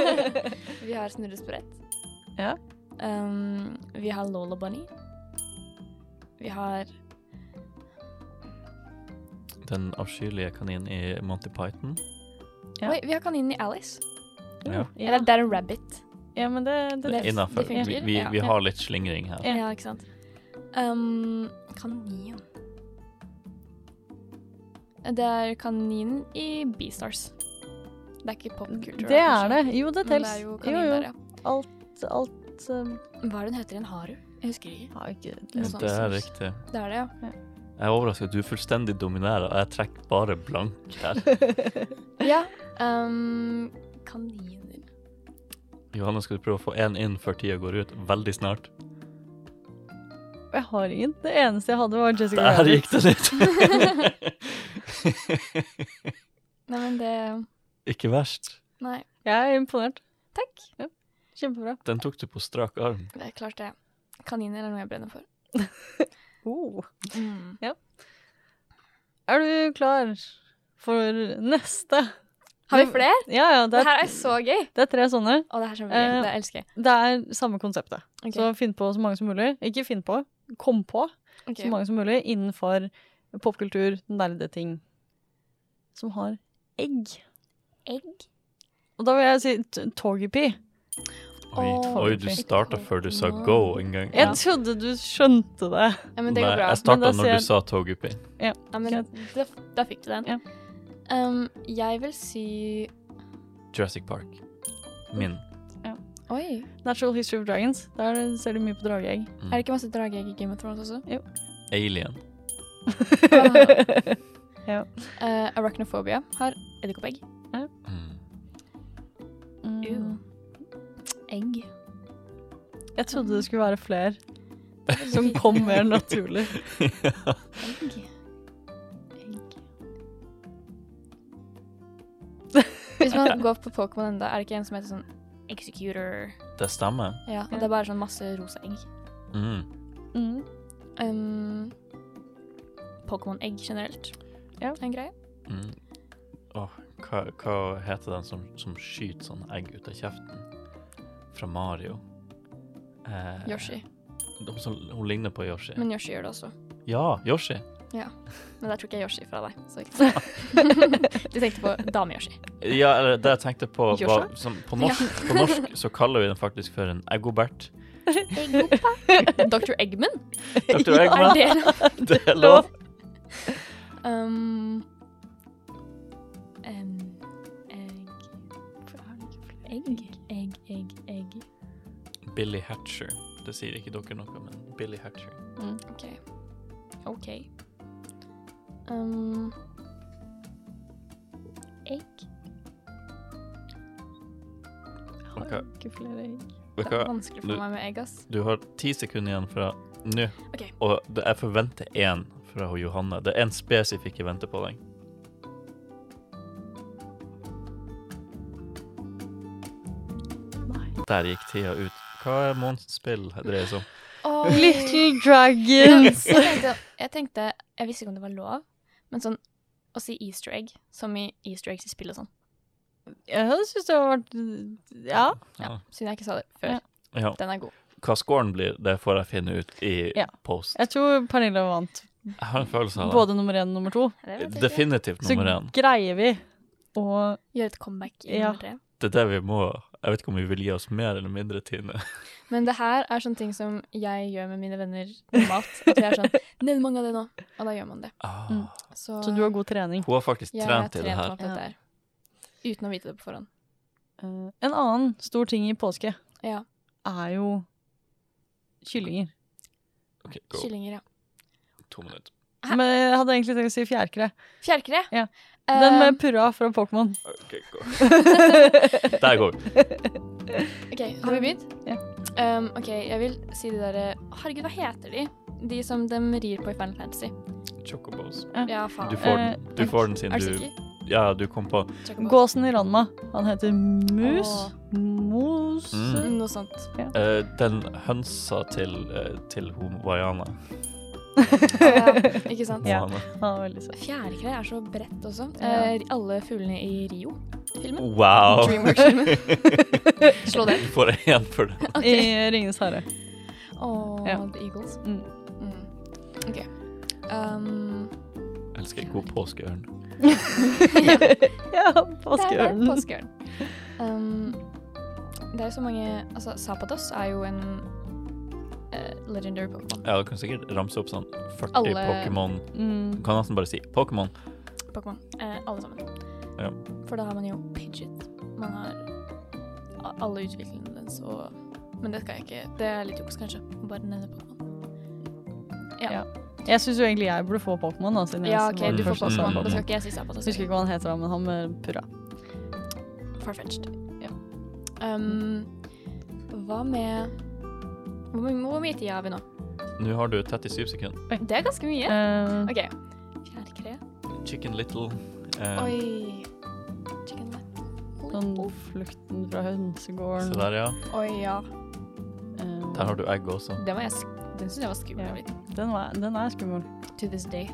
Speaker 2: vi har Snurre Sprett.
Speaker 1: Ja.
Speaker 2: Um, vi har Lola Bunny. Vi har
Speaker 3: Den avskyelige kaninen i Monty Python.
Speaker 1: Ja.
Speaker 2: Oi, vi har kaninen i Alice.
Speaker 3: Ja.
Speaker 1: Ja,
Speaker 2: Eller Darren Rabbit.
Speaker 1: ja men det, det,
Speaker 3: Det er
Speaker 2: Det-
Speaker 3: innafor.
Speaker 2: det funker,
Speaker 3: Vi, vi,
Speaker 2: ja.
Speaker 3: vi har litt slingring her.
Speaker 1: Ja.
Speaker 2: Ja, ikke sant? Um, kanin Det er kaninen i Beastars. Det er ikke popkultur.
Speaker 1: det er det. Jo, det
Speaker 2: Men Mm. det
Speaker 1: tels.
Speaker 2: er jo
Speaker 1: Jo,
Speaker 2: kanin
Speaker 1: jo.
Speaker 2: der, ja.
Speaker 1: Alt, alt um,
Speaker 2: Hva er det den heter igjen? Haru? Jeg husker ikke.
Speaker 1: har ikke
Speaker 2: Noe
Speaker 1: lest.
Speaker 2: sånt.
Speaker 3: Det er riktig.
Speaker 2: Det er det, ja.
Speaker 3: Jeg er overrasket at du er fullstendig dominerer, og jeg trekker bare blank her.
Speaker 2: Ja. ehm, kaniner
Speaker 3: Johanne, skal du prøve å få én inn før tida går ut? Veldig snart.
Speaker 1: Jeg har ingen. Det eneste jeg hadde, var Jessica
Speaker 3: Der
Speaker 1: Rabbit.
Speaker 3: gikk det litt.
Speaker 2: Nei, men det
Speaker 3: Ikke verst.
Speaker 2: Nei.
Speaker 1: Jeg er imponert.
Speaker 2: Takk.
Speaker 1: Kjempebra.
Speaker 3: Den tok du på strak arm.
Speaker 2: Det er klart, det. Kaniner er noe jeg brenner for.
Speaker 1: Oh.
Speaker 2: Mm.
Speaker 1: Er du klar for neste?
Speaker 2: Har vi flere?
Speaker 1: Ja, ja. Det
Speaker 2: Det
Speaker 1: er,
Speaker 2: her er så gøy!
Speaker 1: det er tre sånne.
Speaker 2: Å, det her er kjempegøy.
Speaker 1: Eh,
Speaker 2: det elsker jeg.
Speaker 1: Det er samme konseptet.
Speaker 2: Ok,
Speaker 1: Så finn på så mange som mulig. Ikke finn på, kom på
Speaker 2: ok.
Speaker 1: så mange som mulig innenfor popkultur, nerdeting som har egg.
Speaker 2: Egg?
Speaker 1: Og da vil jeg si t- Togepi.
Speaker 3: Oi,
Speaker 2: Åh,
Speaker 3: oi du starta før du sa go en gang.
Speaker 1: Jeg
Speaker 2: Ja.
Speaker 1: trodde du skjønte det.
Speaker 2: Ja, men det
Speaker 3: Nei,
Speaker 2: går bra.
Speaker 3: jeg
Speaker 1: men da
Speaker 3: starta
Speaker 1: ser
Speaker 3: når
Speaker 1: jeg-
Speaker 3: du sa Togepi.
Speaker 2: Ja, men da, da fikk du den.
Speaker 1: Ja.
Speaker 2: Um, jeg vil si
Speaker 3: Jurassic Park. Min.
Speaker 2: Oi.
Speaker 1: Natural History of Dragons. Der ser du mye på drageegg.
Speaker 2: Er det ikke masse drageegg i Game of Thrones også?
Speaker 3: Mm. Alien.
Speaker 2: Uh, Arachnophobia har edderkoppegg.
Speaker 3: Mm.
Speaker 1: Mm.
Speaker 2: Egg.
Speaker 1: Jeg trodde det skulle være flere som kom mer naturlig.
Speaker 2: Egg. Hvis man går på Pokémon enda, er det ikke en som heter sånn Executor?
Speaker 3: Det stemmer.
Speaker 2: Ja, og
Speaker 1: Ja.
Speaker 2: det er bare sånn masse rosa egg.
Speaker 3: Mm.
Speaker 1: Mm.
Speaker 2: Um, Pokémon-egg generelt
Speaker 1: Ja.
Speaker 2: er en greie.
Speaker 3: Mm. Åh, hva, hva heter den som, som skyter sånn egg ut av kjeften? Fra Mario. Eh,
Speaker 2: Yoshi.
Speaker 1: Eh,
Speaker 3: de som- hun ligner på Yoshi.
Speaker 2: Men Yoshi gjør det også.
Speaker 3: Ja, Yoshi.
Speaker 2: Men der tok jeg Yoshi fra deg. Så ikke sant? du tenkte på dame-Yoshi.
Speaker 3: Ja, eller det jeg tenkte på var
Speaker 2: Joshua?
Speaker 3: som, på, norsk, på norsk så kaller vi den faktisk for en eggobert.
Speaker 2: Dr. Eggman?
Speaker 3: Dr.
Speaker 2: Er
Speaker 3: Eggman,
Speaker 2: det lov?
Speaker 3: det er lov.
Speaker 2: Um, em, egg For har den ikke flere? Egg, egg, egg, egg.
Speaker 3: Billy Hatcher. Det sier ikke dere noe, men Billy Hatcher.
Speaker 1: Mm.
Speaker 2: OK. OK. Um, egg
Speaker 1: Har
Speaker 3: Ok.
Speaker 1: ikke flere egg.
Speaker 3: Vet
Speaker 2: Det er
Speaker 3: du hva?
Speaker 2: vanskelig for
Speaker 3: du-
Speaker 2: meg med egg, ass.
Speaker 3: Du har ti sekunder igjen fra nå,
Speaker 2: Ok.
Speaker 3: og det, jeg forventer én fra hun Johanne. Det er én spesifikk jeg venter på deg.
Speaker 1: Nei.
Speaker 3: Der gikk tida ut. Hva er månedsspill det dreier seg om?
Speaker 1: Little Dragons.
Speaker 2: jeg, tenkte, jeg tenkte Jeg visste ikke om det var lov, men sånn å si easter egg, som i easter eggs i spill og sånn.
Speaker 1: Jeg syns det har vært Ja.
Speaker 2: Ja,
Speaker 3: Ja.
Speaker 2: Siden jeg ikke sa det før.
Speaker 1: Ja.
Speaker 3: Ja.
Speaker 2: Den er god.
Speaker 3: Hva scoren blir, det får jeg finne ut i
Speaker 1: Ja.
Speaker 3: post.
Speaker 1: Jeg tror Pernille vant.
Speaker 3: Jeg har en følelse av det.
Speaker 1: Både nummer én og nummer to.
Speaker 3: Eh, Definitivt
Speaker 1: Så
Speaker 3: nummer én.
Speaker 1: greier vi å
Speaker 2: Gjøre et comeback i
Speaker 1: Ja.
Speaker 2: nummer tre.
Speaker 3: Det er det vi må Jeg vet ikke om vi vil gi oss mer eller mindre, Tine.
Speaker 2: Men det her er sånne ting som jeg gjør med mine venner normalt. At jeg er sånn Nevn mange av det nå. Og da gjør man det.
Speaker 3: Ah,
Speaker 1: Mm.
Speaker 2: Så,
Speaker 1: Så du har god trening.
Speaker 3: Hun har faktisk
Speaker 2: jeg har
Speaker 3: trent i det
Speaker 2: trent meg
Speaker 3: her.
Speaker 2: opp dette her. Uten å vite det på forhånd.
Speaker 1: Eh, En annen stor ting i påske
Speaker 2: Ja.
Speaker 1: er jo kyllinger.
Speaker 3: Ok, go.
Speaker 2: Kyllinger, ja.
Speaker 3: To minutter.
Speaker 2: Hæ?
Speaker 1: Men jeg hadde egentlig tenkt å si fjærkre.
Speaker 2: Fjærkre.
Speaker 1: Ja.
Speaker 2: Eh,
Speaker 1: Den med purra fra Pokémon.
Speaker 3: Ok, go. Der går vi.
Speaker 2: OK, har vi begynt?
Speaker 1: Ja.
Speaker 2: Um, OK, jeg vil si de derre Herregud, hva heter de? De som de rir på i Final Fantasy.
Speaker 3: Chocobos.
Speaker 2: Ja, faen.
Speaker 3: Du får den, du får den
Speaker 2: Eh, Er
Speaker 3: siden
Speaker 2: du
Speaker 3: du
Speaker 2: sikker?
Speaker 3: Ja, du kom på
Speaker 2: Chocobo.
Speaker 1: Gåsen i Ranma. Han heter Mus.
Speaker 2: Åh.
Speaker 1: Mos
Speaker 3: Mm.
Speaker 2: Noe sånt.
Speaker 3: eh, den hønsa til, uh, til hun Vaiana.
Speaker 2: Ja, ikke sant?
Speaker 1: Ja.
Speaker 3: Moana.
Speaker 1: Han er veldig søt.
Speaker 2: Fjærkre er så bredt også.
Speaker 1: Ja.
Speaker 2: Eh, alle fuglene i Rio-filmen.
Speaker 3: Wow!
Speaker 2: Dreamworks-filmen. Slå det.
Speaker 3: Du får én for det.
Speaker 1: I Ringenes herre.
Speaker 2: Og
Speaker 1: Ja.
Speaker 2: The Eagles.
Speaker 1: Mm.
Speaker 2: Mm. OK. Um,
Speaker 3: Jeg elsker god påskeørn.
Speaker 1: ja,
Speaker 2: der er
Speaker 1: påskeørnen.
Speaker 2: Påskeørn. Um, det er jo så mange Altså, Zapatos er jo en eh, legendary Pokémon.
Speaker 3: Ja, du kan sikkert ramse opp sånn 40
Speaker 2: Alle-
Speaker 3: Pokémon. Du
Speaker 1: Mm.
Speaker 3: kan nesten bare si Pokémon.
Speaker 2: Pokémon. Eh, alle sammen.
Speaker 3: Ja.
Speaker 2: For da har man jo Pidget. Man har a- alle utviklingene dens og Men det skal jeg ikke Det er litt juks, kanskje. å Bare nevne Pokémon.
Speaker 1: Ja.
Speaker 2: Ja.
Speaker 1: Jeg syns jo egentlig jeg burde få Pokémon. da, siden jeg
Speaker 2: Ja,
Speaker 1: som
Speaker 2: OK,
Speaker 1: var
Speaker 2: du får
Speaker 1: først som
Speaker 2: Pokémon.
Speaker 1: var
Speaker 2: Da skal
Speaker 1: Pokémon.
Speaker 2: ikke jeg si Zapatos.
Speaker 1: Jeg husker ikke hva han heter, da, men han med purra.
Speaker 2: Farfetched.
Speaker 1: Ja.
Speaker 2: Um, hva med hvor, my- hvor mye tid har vi nå?
Speaker 3: Nå har du 37 sekunder.
Speaker 2: Det er ganske mye.
Speaker 1: Eh,
Speaker 2: OK. Fjærkre.
Speaker 3: Chicken Little. eh,
Speaker 2: Oi. Chicken
Speaker 1: Um. Sånn
Speaker 2: leg.
Speaker 1: flukten fra
Speaker 3: se
Speaker 1: hønsegården.
Speaker 3: der, ja.
Speaker 2: Oi, ja.
Speaker 1: Eh,
Speaker 3: Der har du egg også.
Speaker 2: Den, var jeg sk den synes jeg var skummel.
Speaker 1: Ja.
Speaker 2: da jeg var liten.
Speaker 1: den, var, den er skummel.
Speaker 2: To this day.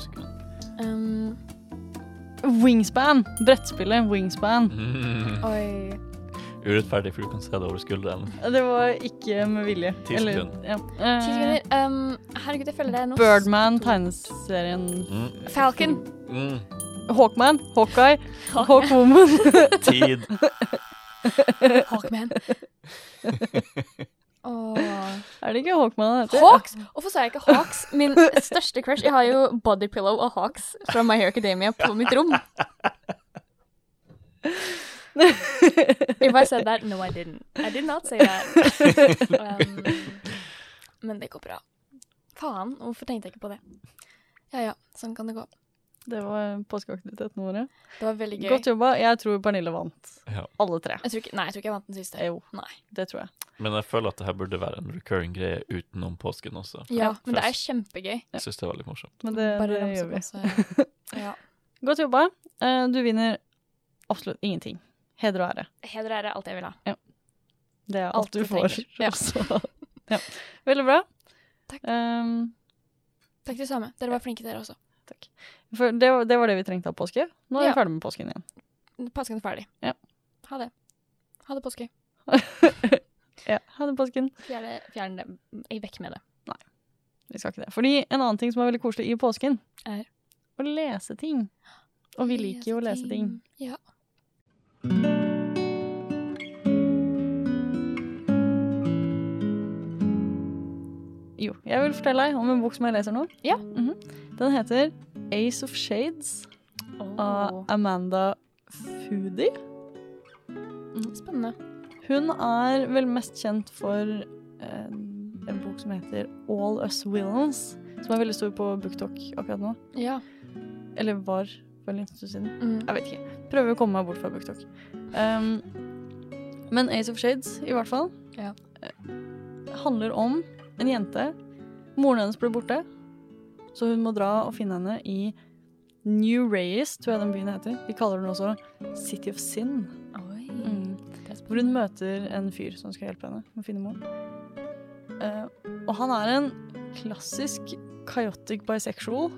Speaker 3: sekunder.
Speaker 2: Um,
Speaker 1: Wingspan! Brettspillet Wingspan.
Speaker 3: Mm.
Speaker 2: oi.
Speaker 3: Urettferdig, for du kan se det over skulderen.
Speaker 1: Det var ikke med vilje.
Speaker 3: Ti
Speaker 1: Eller-
Speaker 3: sekunder.
Speaker 1: Ja.
Speaker 2: Ti
Speaker 1: Eh,
Speaker 2: sekunder. Um, herregud, jeg føler det er noe
Speaker 1: Birdman, tegneserien
Speaker 3: Mm.
Speaker 2: Falcon.
Speaker 3: Mm.
Speaker 1: Hawkman, Hawkeye, Hawkwoman.
Speaker 3: Tid.
Speaker 2: Hawkman. Åh.
Speaker 1: er det ikke Hawkman han heter?
Speaker 2: Hawks! Hvorfor sa jeg ikke Hawks? Min største crush. Jeg har jo Body Pillow og Hawks fra My Hair Academia på mitt rom. If I said that, no I didn't. I did not say that. Um, men det går bra. Faen, hvorfor tenkte jeg ikke på det? Ja ja, sånn kan det gå.
Speaker 1: Det var påskeaktiviteten vår.
Speaker 2: Det var veldig gøy.
Speaker 1: Godt jobba. Jeg tror Pernille vant.
Speaker 3: Ja.
Speaker 1: Alle tre.
Speaker 2: Jeg tror ikke, nei, jeg tror ikke jeg vant den siste.
Speaker 1: Jo,
Speaker 2: Nei.
Speaker 1: det tror jeg.
Speaker 3: Men jeg føler at det her burde være en recurring greie utenom påsken også.
Speaker 2: Ja, men det er kjempegøy.
Speaker 3: Jeg syns det er veldig morsomt.
Speaker 1: Men det,
Speaker 2: Bare
Speaker 1: det
Speaker 2: ramse
Speaker 1: gjør
Speaker 2: opp
Speaker 1: vi.
Speaker 2: masse- Ja.
Speaker 1: Godt jobba. Eh, Du vinner absolutt ingenting. Heder og ære.
Speaker 2: Heder og ære er alt jeg vil ha.
Speaker 1: Det er alt
Speaker 2: Alt
Speaker 1: du
Speaker 2: du
Speaker 1: får.
Speaker 2: trenger. Ja.
Speaker 1: Så- ja. Veldig bra.
Speaker 2: Takk.
Speaker 1: Ehm,
Speaker 2: Takk det samme. Dere var flinke, dere også.
Speaker 1: for det, var- det var det vi trengte av påske. Nå er vi
Speaker 2: Ja.
Speaker 1: ferdig med påsken igjen.
Speaker 2: Påsken er ferdig.
Speaker 1: Ja.
Speaker 2: Ha det. Ha det påske.
Speaker 1: Ja, ha det, påsken.
Speaker 2: Fjerne, fjerne det. Jeg Vekk med det.
Speaker 1: vi skal ikke det. Fordi en annen ting som er veldig koselig i påsken,
Speaker 2: Er?
Speaker 1: å lese ting. Og vi liker jo å lese ting.
Speaker 2: Ja.
Speaker 1: Jo, jeg vil fortelle deg om en bok som jeg leser nå.
Speaker 2: Ja.
Speaker 1: Mhm. Den heter Ace of Shades av Amanda Foodie.
Speaker 2: Spennende.
Speaker 1: Hun er vel mest kjent for eh, en bok som heter All Us Villains, som er veldig stor på BookTok akkurat nå.
Speaker 2: Ja.
Speaker 1: Eller var for en liten stund siden.
Speaker 2: Mm.
Speaker 1: Jeg vet ikke. Prøver å komme meg bort fra BookTok. Um, men Ace of Shades, i hvert fall,
Speaker 2: Ja.
Speaker 1: eh, handler om en jente. Moren hennes ble borte, så hun må dra og finne henne i New Reyes, tror jeg den byen heter. De kaller den også City of Sin.
Speaker 2: Oi.
Speaker 1: Mm.
Speaker 2: Det er
Speaker 1: Hvor hun
Speaker 2: spennende.
Speaker 1: møter en fyr som skal hjelpe henne med å finne moren. Eh, og han er en klassisk chaotic bisexual.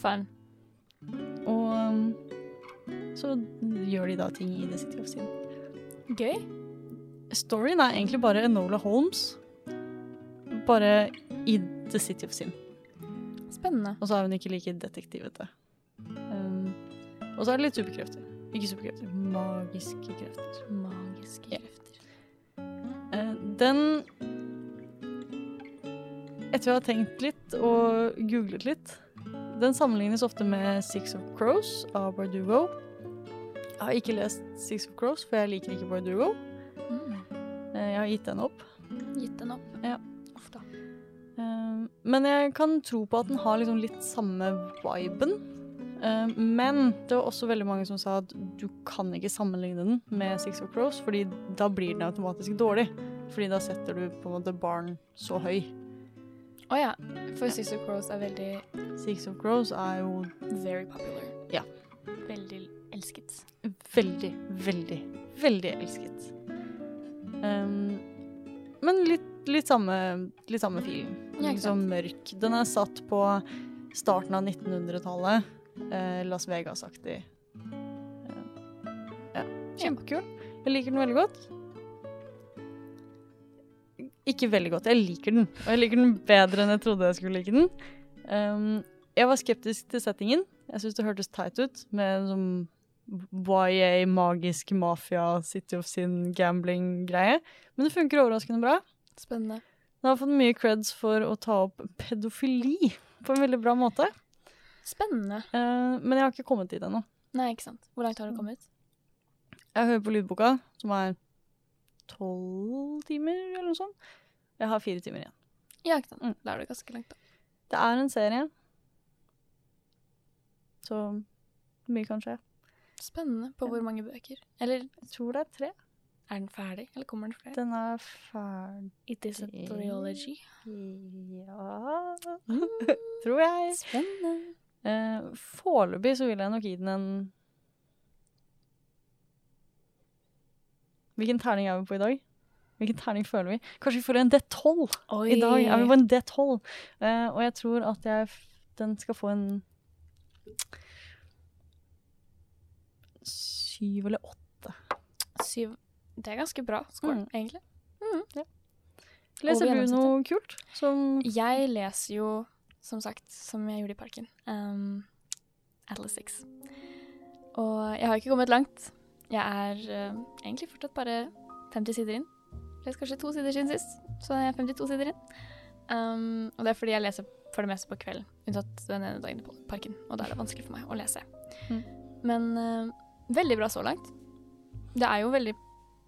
Speaker 2: Fun.
Speaker 1: Og um, så gjør de da ting i The City of Sin.
Speaker 2: Gøy.
Speaker 1: Storyen er egentlig bare Enola Holmes, bare i The City of Sin.
Speaker 2: Spennende.
Speaker 1: Og så er hun ikke like detektivete. Um, og så er det litt superkrefter. Ikke superkrefter, magiske krefter.
Speaker 2: Magiske
Speaker 1: Ja.
Speaker 2: krefter.
Speaker 1: Eh, den Etter å ha tenkt litt og googlet litt Den sammenlignes ofte med Six of Crows av Bardugo. Jeg har ikke lest Six of Crows, for jeg liker ikke Bardugo.
Speaker 2: Mm.
Speaker 1: Eh, Jeg har gitt den opp.
Speaker 2: Gitt den opp.
Speaker 1: Ja.
Speaker 2: Uff da.
Speaker 1: Eh, Men jeg kan tro på at den har liksom litt samme viben. Eh, Men det var også veldig mange som sa at du kan ikke sammenligne den med Six of Crows, fordi da blir den automatisk dårlig. Fordi da setter du på en måte barn så høy.
Speaker 2: Å ja. For Sister Crows er veldig
Speaker 1: Six of Crows er jo
Speaker 2: very popular.
Speaker 1: Ja.
Speaker 2: Veldig elsket.
Speaker 1: veldig, veldig, veldig elsket. Ehm, men litt, litt samme, litt samme filen.
Speaker 2: Ja, ikke
Speaker 1: Litt sånn mørk. Den er satt på starten av 1900-tallet. eh, Las Vegas-aktig. Eh, ja. Kjempekul. Jeg liker den veldig godt. Ikke veldig godt, jeg liker den. Og jeg liker den bedre enn jeg trodde jeg skulle like den. Ehm, jeg var skeptisk til settingen. Jeg syns det hørtes teit ut med en sånn YA, magisk mafia, City of Sin, gambling-greie. Men det funker overraskende bra.
Speaker 2: Spennende.
Speaker 1: Den har fått mye creds for å ta opp pedofili på en veldig bra måte.
Speaker 2: Spennende.
Speaker 1: Eh, men jeg har ikke kommet dit ennå.
Speaker 2: Nei, ikke sant. Hvor langt har du kommet?
Speaker 1: Jeg hører på lydboka, som er tolv timer eller noe sånt. Jeg har fire timer igjen.
Speaker 2: Ja, ikke sant.
Speaker 1: Mm.
Speaker 2: Da er du ganske langt, da.
Speaker 1: Det er en serie. Så mye kan skje.
Speaker 2: Spennende. På hvor mange bøker? Eller
Speaker 1: Jeg tror det er tre.
Speaker 2: er den ferdig? Eller kommer den flere?
Speaker 1: Den er ferdig
Speaker 2: It is
Speaker 1: a
Speaker 2: a
Speaker 1: trilogy.
Speaker 2: trilogy.
Speaker 1: Ja Tror jeg.
Speaker 2: Spennende.
Speaker 1: Eh, Foreløpig så vil jeg nok gi den en Hvilken terning er vi på i dag? Hvilken terning føler vi? Kanskje vi får en D12
Speaker 2: Oi.
Speaker 1: i dag? Er vi på en D12? Eh, og jeg tror at jeg, f- den skal få en Syv eller åtte.
Speaker 2: Syv. Det er ganske bra score,
Speaker 1: Mm.
Speaker 2: egentlig.
Speaker 1: Leser
Speaker 2: Over
Speaker 1: du noe kult? Som
Speaker 2: Jeg leser jo, som sagt, som jeg gjorde i parken, um, Atlas 6. Og jeg har ikke kommet langt. Jeg er um, egentlig fortsatt bare 50 sider inn. Lest kanskje to sider siden sist, så er jeg 52 sider inn. Um, og det er fordi jeg leser for det meste på kvelden, unntatt den ene dagen på parken. Og da er det vanskelig for meg å lese.
Speaker 1: Mm.
Speaker 2: Men um, veldig bra så langt. Det er jo veldig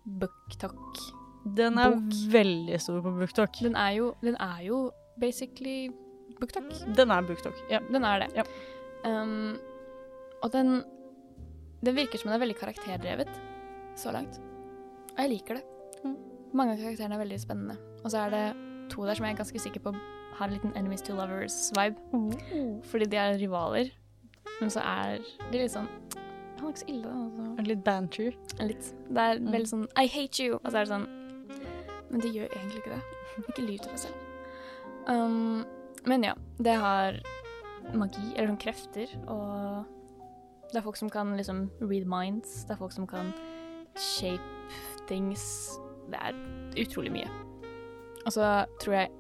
Speaker 2: booktok
Speaker 1: Den er
Speaker 2: bok.
Speaker 1: veldig stor på BookTok.
Speaker 2: den er jo, den er jo basically booktalk.
Speaker 1: Den er BookTok. Ja.
Speaker 2: Den er det.
Speaker 1: Ja.
Speaker 2: Um, og den Det virker som den er veldig karakterdrevet så langt. Og jeg liker det.
Speaker 1: Mm.
Speaker 2: Mange av karakterene er veldig spennende. Og så er det to der som jeg er ganske sikker på har en liten Enemies to Lovers-vibe. Fordi de er rivaler. Men så er de litt sånn Han er ikke så ille, da. Altså.
Speaker 1: Er det Litt banter.
Speaker 2: Litt. Det er
Speaker 1: Mm.
Speaker 2: veldig sånn I hate you! Og så er det sånn Men det gjør egentlig ikke det. Ikke lyv til deg selv. Um, men ja. Det har magi, eller sånn krefter, og det er folk som kan liksom read minds. Det er folk som kan shape things. Det er utrolig mye. Og så tror jeg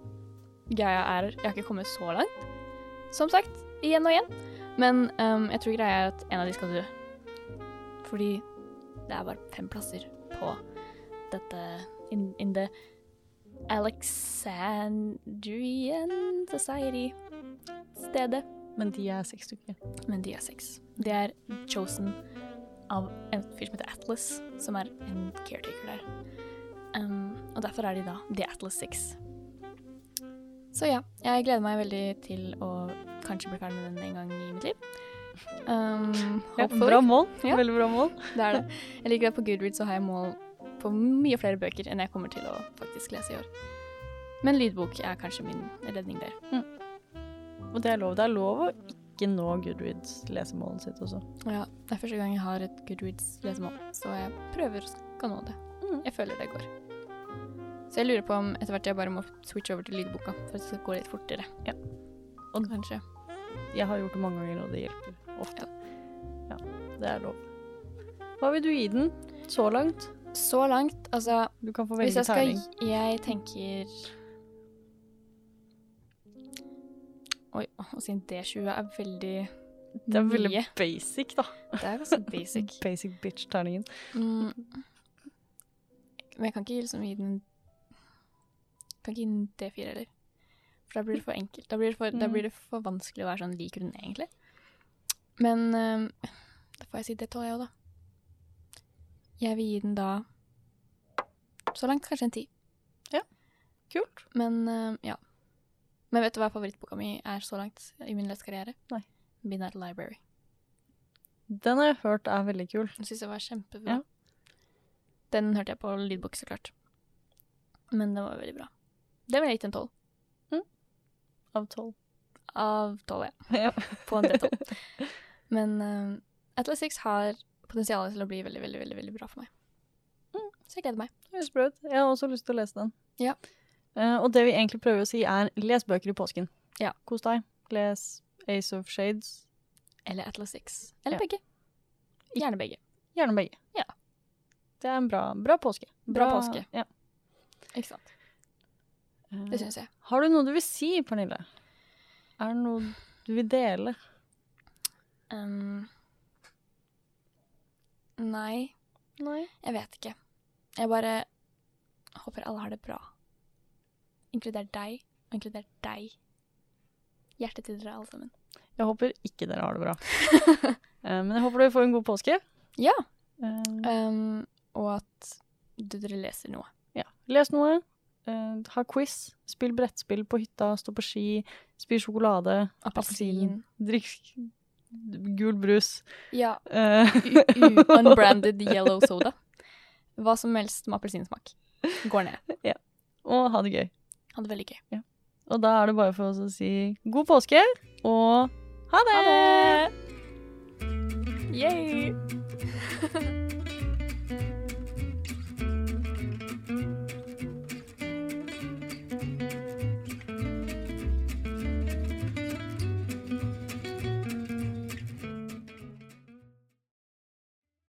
Speaker 2: greia er Jeg har ikke kommet så langt, som sagt, igjen og igjen. Men ehm, jeg tror greia er at en av de skal dø. Fordi det er bare fem plasser på dette in, in the Alexandrian Society-stedet.
Speaker 1: Men de er seks stykker.
Speaker 2: Men de er seks. De er chosen av en fyr som heter Atlas, som er en caretaker der. Um, og derfor er de da The Atlas Six. Så ja, jeg gleder meg veldig til å kanskje bli ferdig med den en gang i mitt liv. Um,
Speaker 1: Ja,
Speaker 2: hopefully.
Speaker 1: bra mål.
Speaker 2: Ja.
Speaker 1: Veldig bra mål.
Speaker 2: Det er det. Jeg liker at på Goodreads så har jeg mål på mye flere bøker enn jeg kommer til å faktisk lese i år. Men lydbok er kanskje min redning der.
Speaker 1: Og det er lov. Det er lov å ikke nå Goodreads-lesemålet sitt også.
Speaker 2: Ja, det er første gang jeg har et Goodreads-lesemål, så jeg prøver å skal nå det.
Speaker 1: Mm.
Speaker 2: Jeg føler det går. Så jeg lurer på om etter hvert jeg bare må switche over til lydboka, for at det skal gå litt fortere.
Speaker 1: Ja.
Speaker 2: Og kanskje.
Speaker 1: Jeg har gjort det mange ganger, og det hjelper ofte. Ja, det er lov. Hva vil du gi den så langt?
Speaker 2: Så langt, altså
Speaker 1: Du kan få
Speaker 2: Hvis
Speaker 1: velge
Speaker 2: jeg skal
Speaker 1: terning.
Speaker 2: Jeg tenker Oi, å si en D20 er veldig
Speaker 1: Det er veldig
Speaker 2: mye.
Speaker 1: basic, da.
Speaker 2: Det er ganske basic.
Speaker 1: Basic bitch-terningen.
Speaker 2: Mm. Men jeg kan ikke liksom gi den Kan ikke gi den D4 heller. For da blir det for enkelt. Da blir det for, da
Speaker 1: Mm.
Speaker 2: blir det for vanskelig å være sånn lik hun egentlig. Men ehm, da får jeg si D12, jeg òg, da. Jeg vil gi den da Så langt kanskje en 10.
Speaker 1: Kult.
Speaker 2: Men ehm, ja. Men vet du hva favorittboka mi er så langt i min lesekarriere?
Speaker 1: Nei.
Speaker 2: Midnight Library.
Speaker 1: Den har jeg hørt er veldig kul.
Speaker 2: Den syns jeg var kjempebra.
Speaker 1: Ja.
Speaker 2: Den hørte jeg på lydbok, så klart. Men den var veldig bra. Den ville jeg gitt en tolv.
Speaker 1: Av tolv.
Speaker 2: Av tolv, ja.
Speaker 1: Ja.
Speaker 2: På en D12. Men eh, Atlas 6 har potensial til å bli veldig, veldig, veldig, veldig bra for meg.
Speaker 1: Mm.
Speaker 2: Så jeg gleder meg.
Speaker 1: Det høres bra ut. Jeg har også lyst til å lese den.
Speaker 2: Ja.
Speaker 1: Eh, og det vi egentlig prøver å si, er les bøker i påsken.
Speaker 2: Ja.
Speaker 1: Kos deg. Les Ace of Shades.
Speaker 2: Eller Atlas 6. Eller
Speaker 1: Ja.
Speaker 2: begge. Gjerne begge.
Speaker 1: Gjerne begge.
Speaker 2: Ja.
Speaker 1: Det er en bra, bra påske.
Speaker 2: Bra påske.
Speaker 1: Ja.
Speaker 2: Ikke sant. Det syns jeg.
Speaker 1: Har du noe du vil si, Pernille? Er det noe du vil dele?
Speaker 2: Um, nei,
Speaker 1: Nei.
Speaker 2: jeg vet ikke. Jeg bare håper alle har det bra. Inkludert deg, og inkludert deg. Hjertet til dere alle sammen.
Speaker 1: Jeg håper ikke dere har det bra. Eh, Men jeg håper dere får en god påske.
Speaker 2: Ja.
Speaker 1: Eh,
Speaker 2: Um, og at du, dere leser noe.
Speaker 1: Ja. Les noe. eh, Ha quiz. Spill brettspill på hytta. Stå på ski. Spis sjokolade.
Speaker 2: Appelsin.
Speaker 1: Drikk gul brus.
Speaker 2: Ja.
Speaker 1: Eh,
Speaker 2: U unbranded yellow soda. Hva som helst med appelsinsmak. Går ned.
Speaker 1: og ha det gøy.
Speaker 2: Ha det veldig gøy.
Speaker 1: Og da er det bare for oss å si god påske og ha det!
Speaker 2: Ha det! Yay!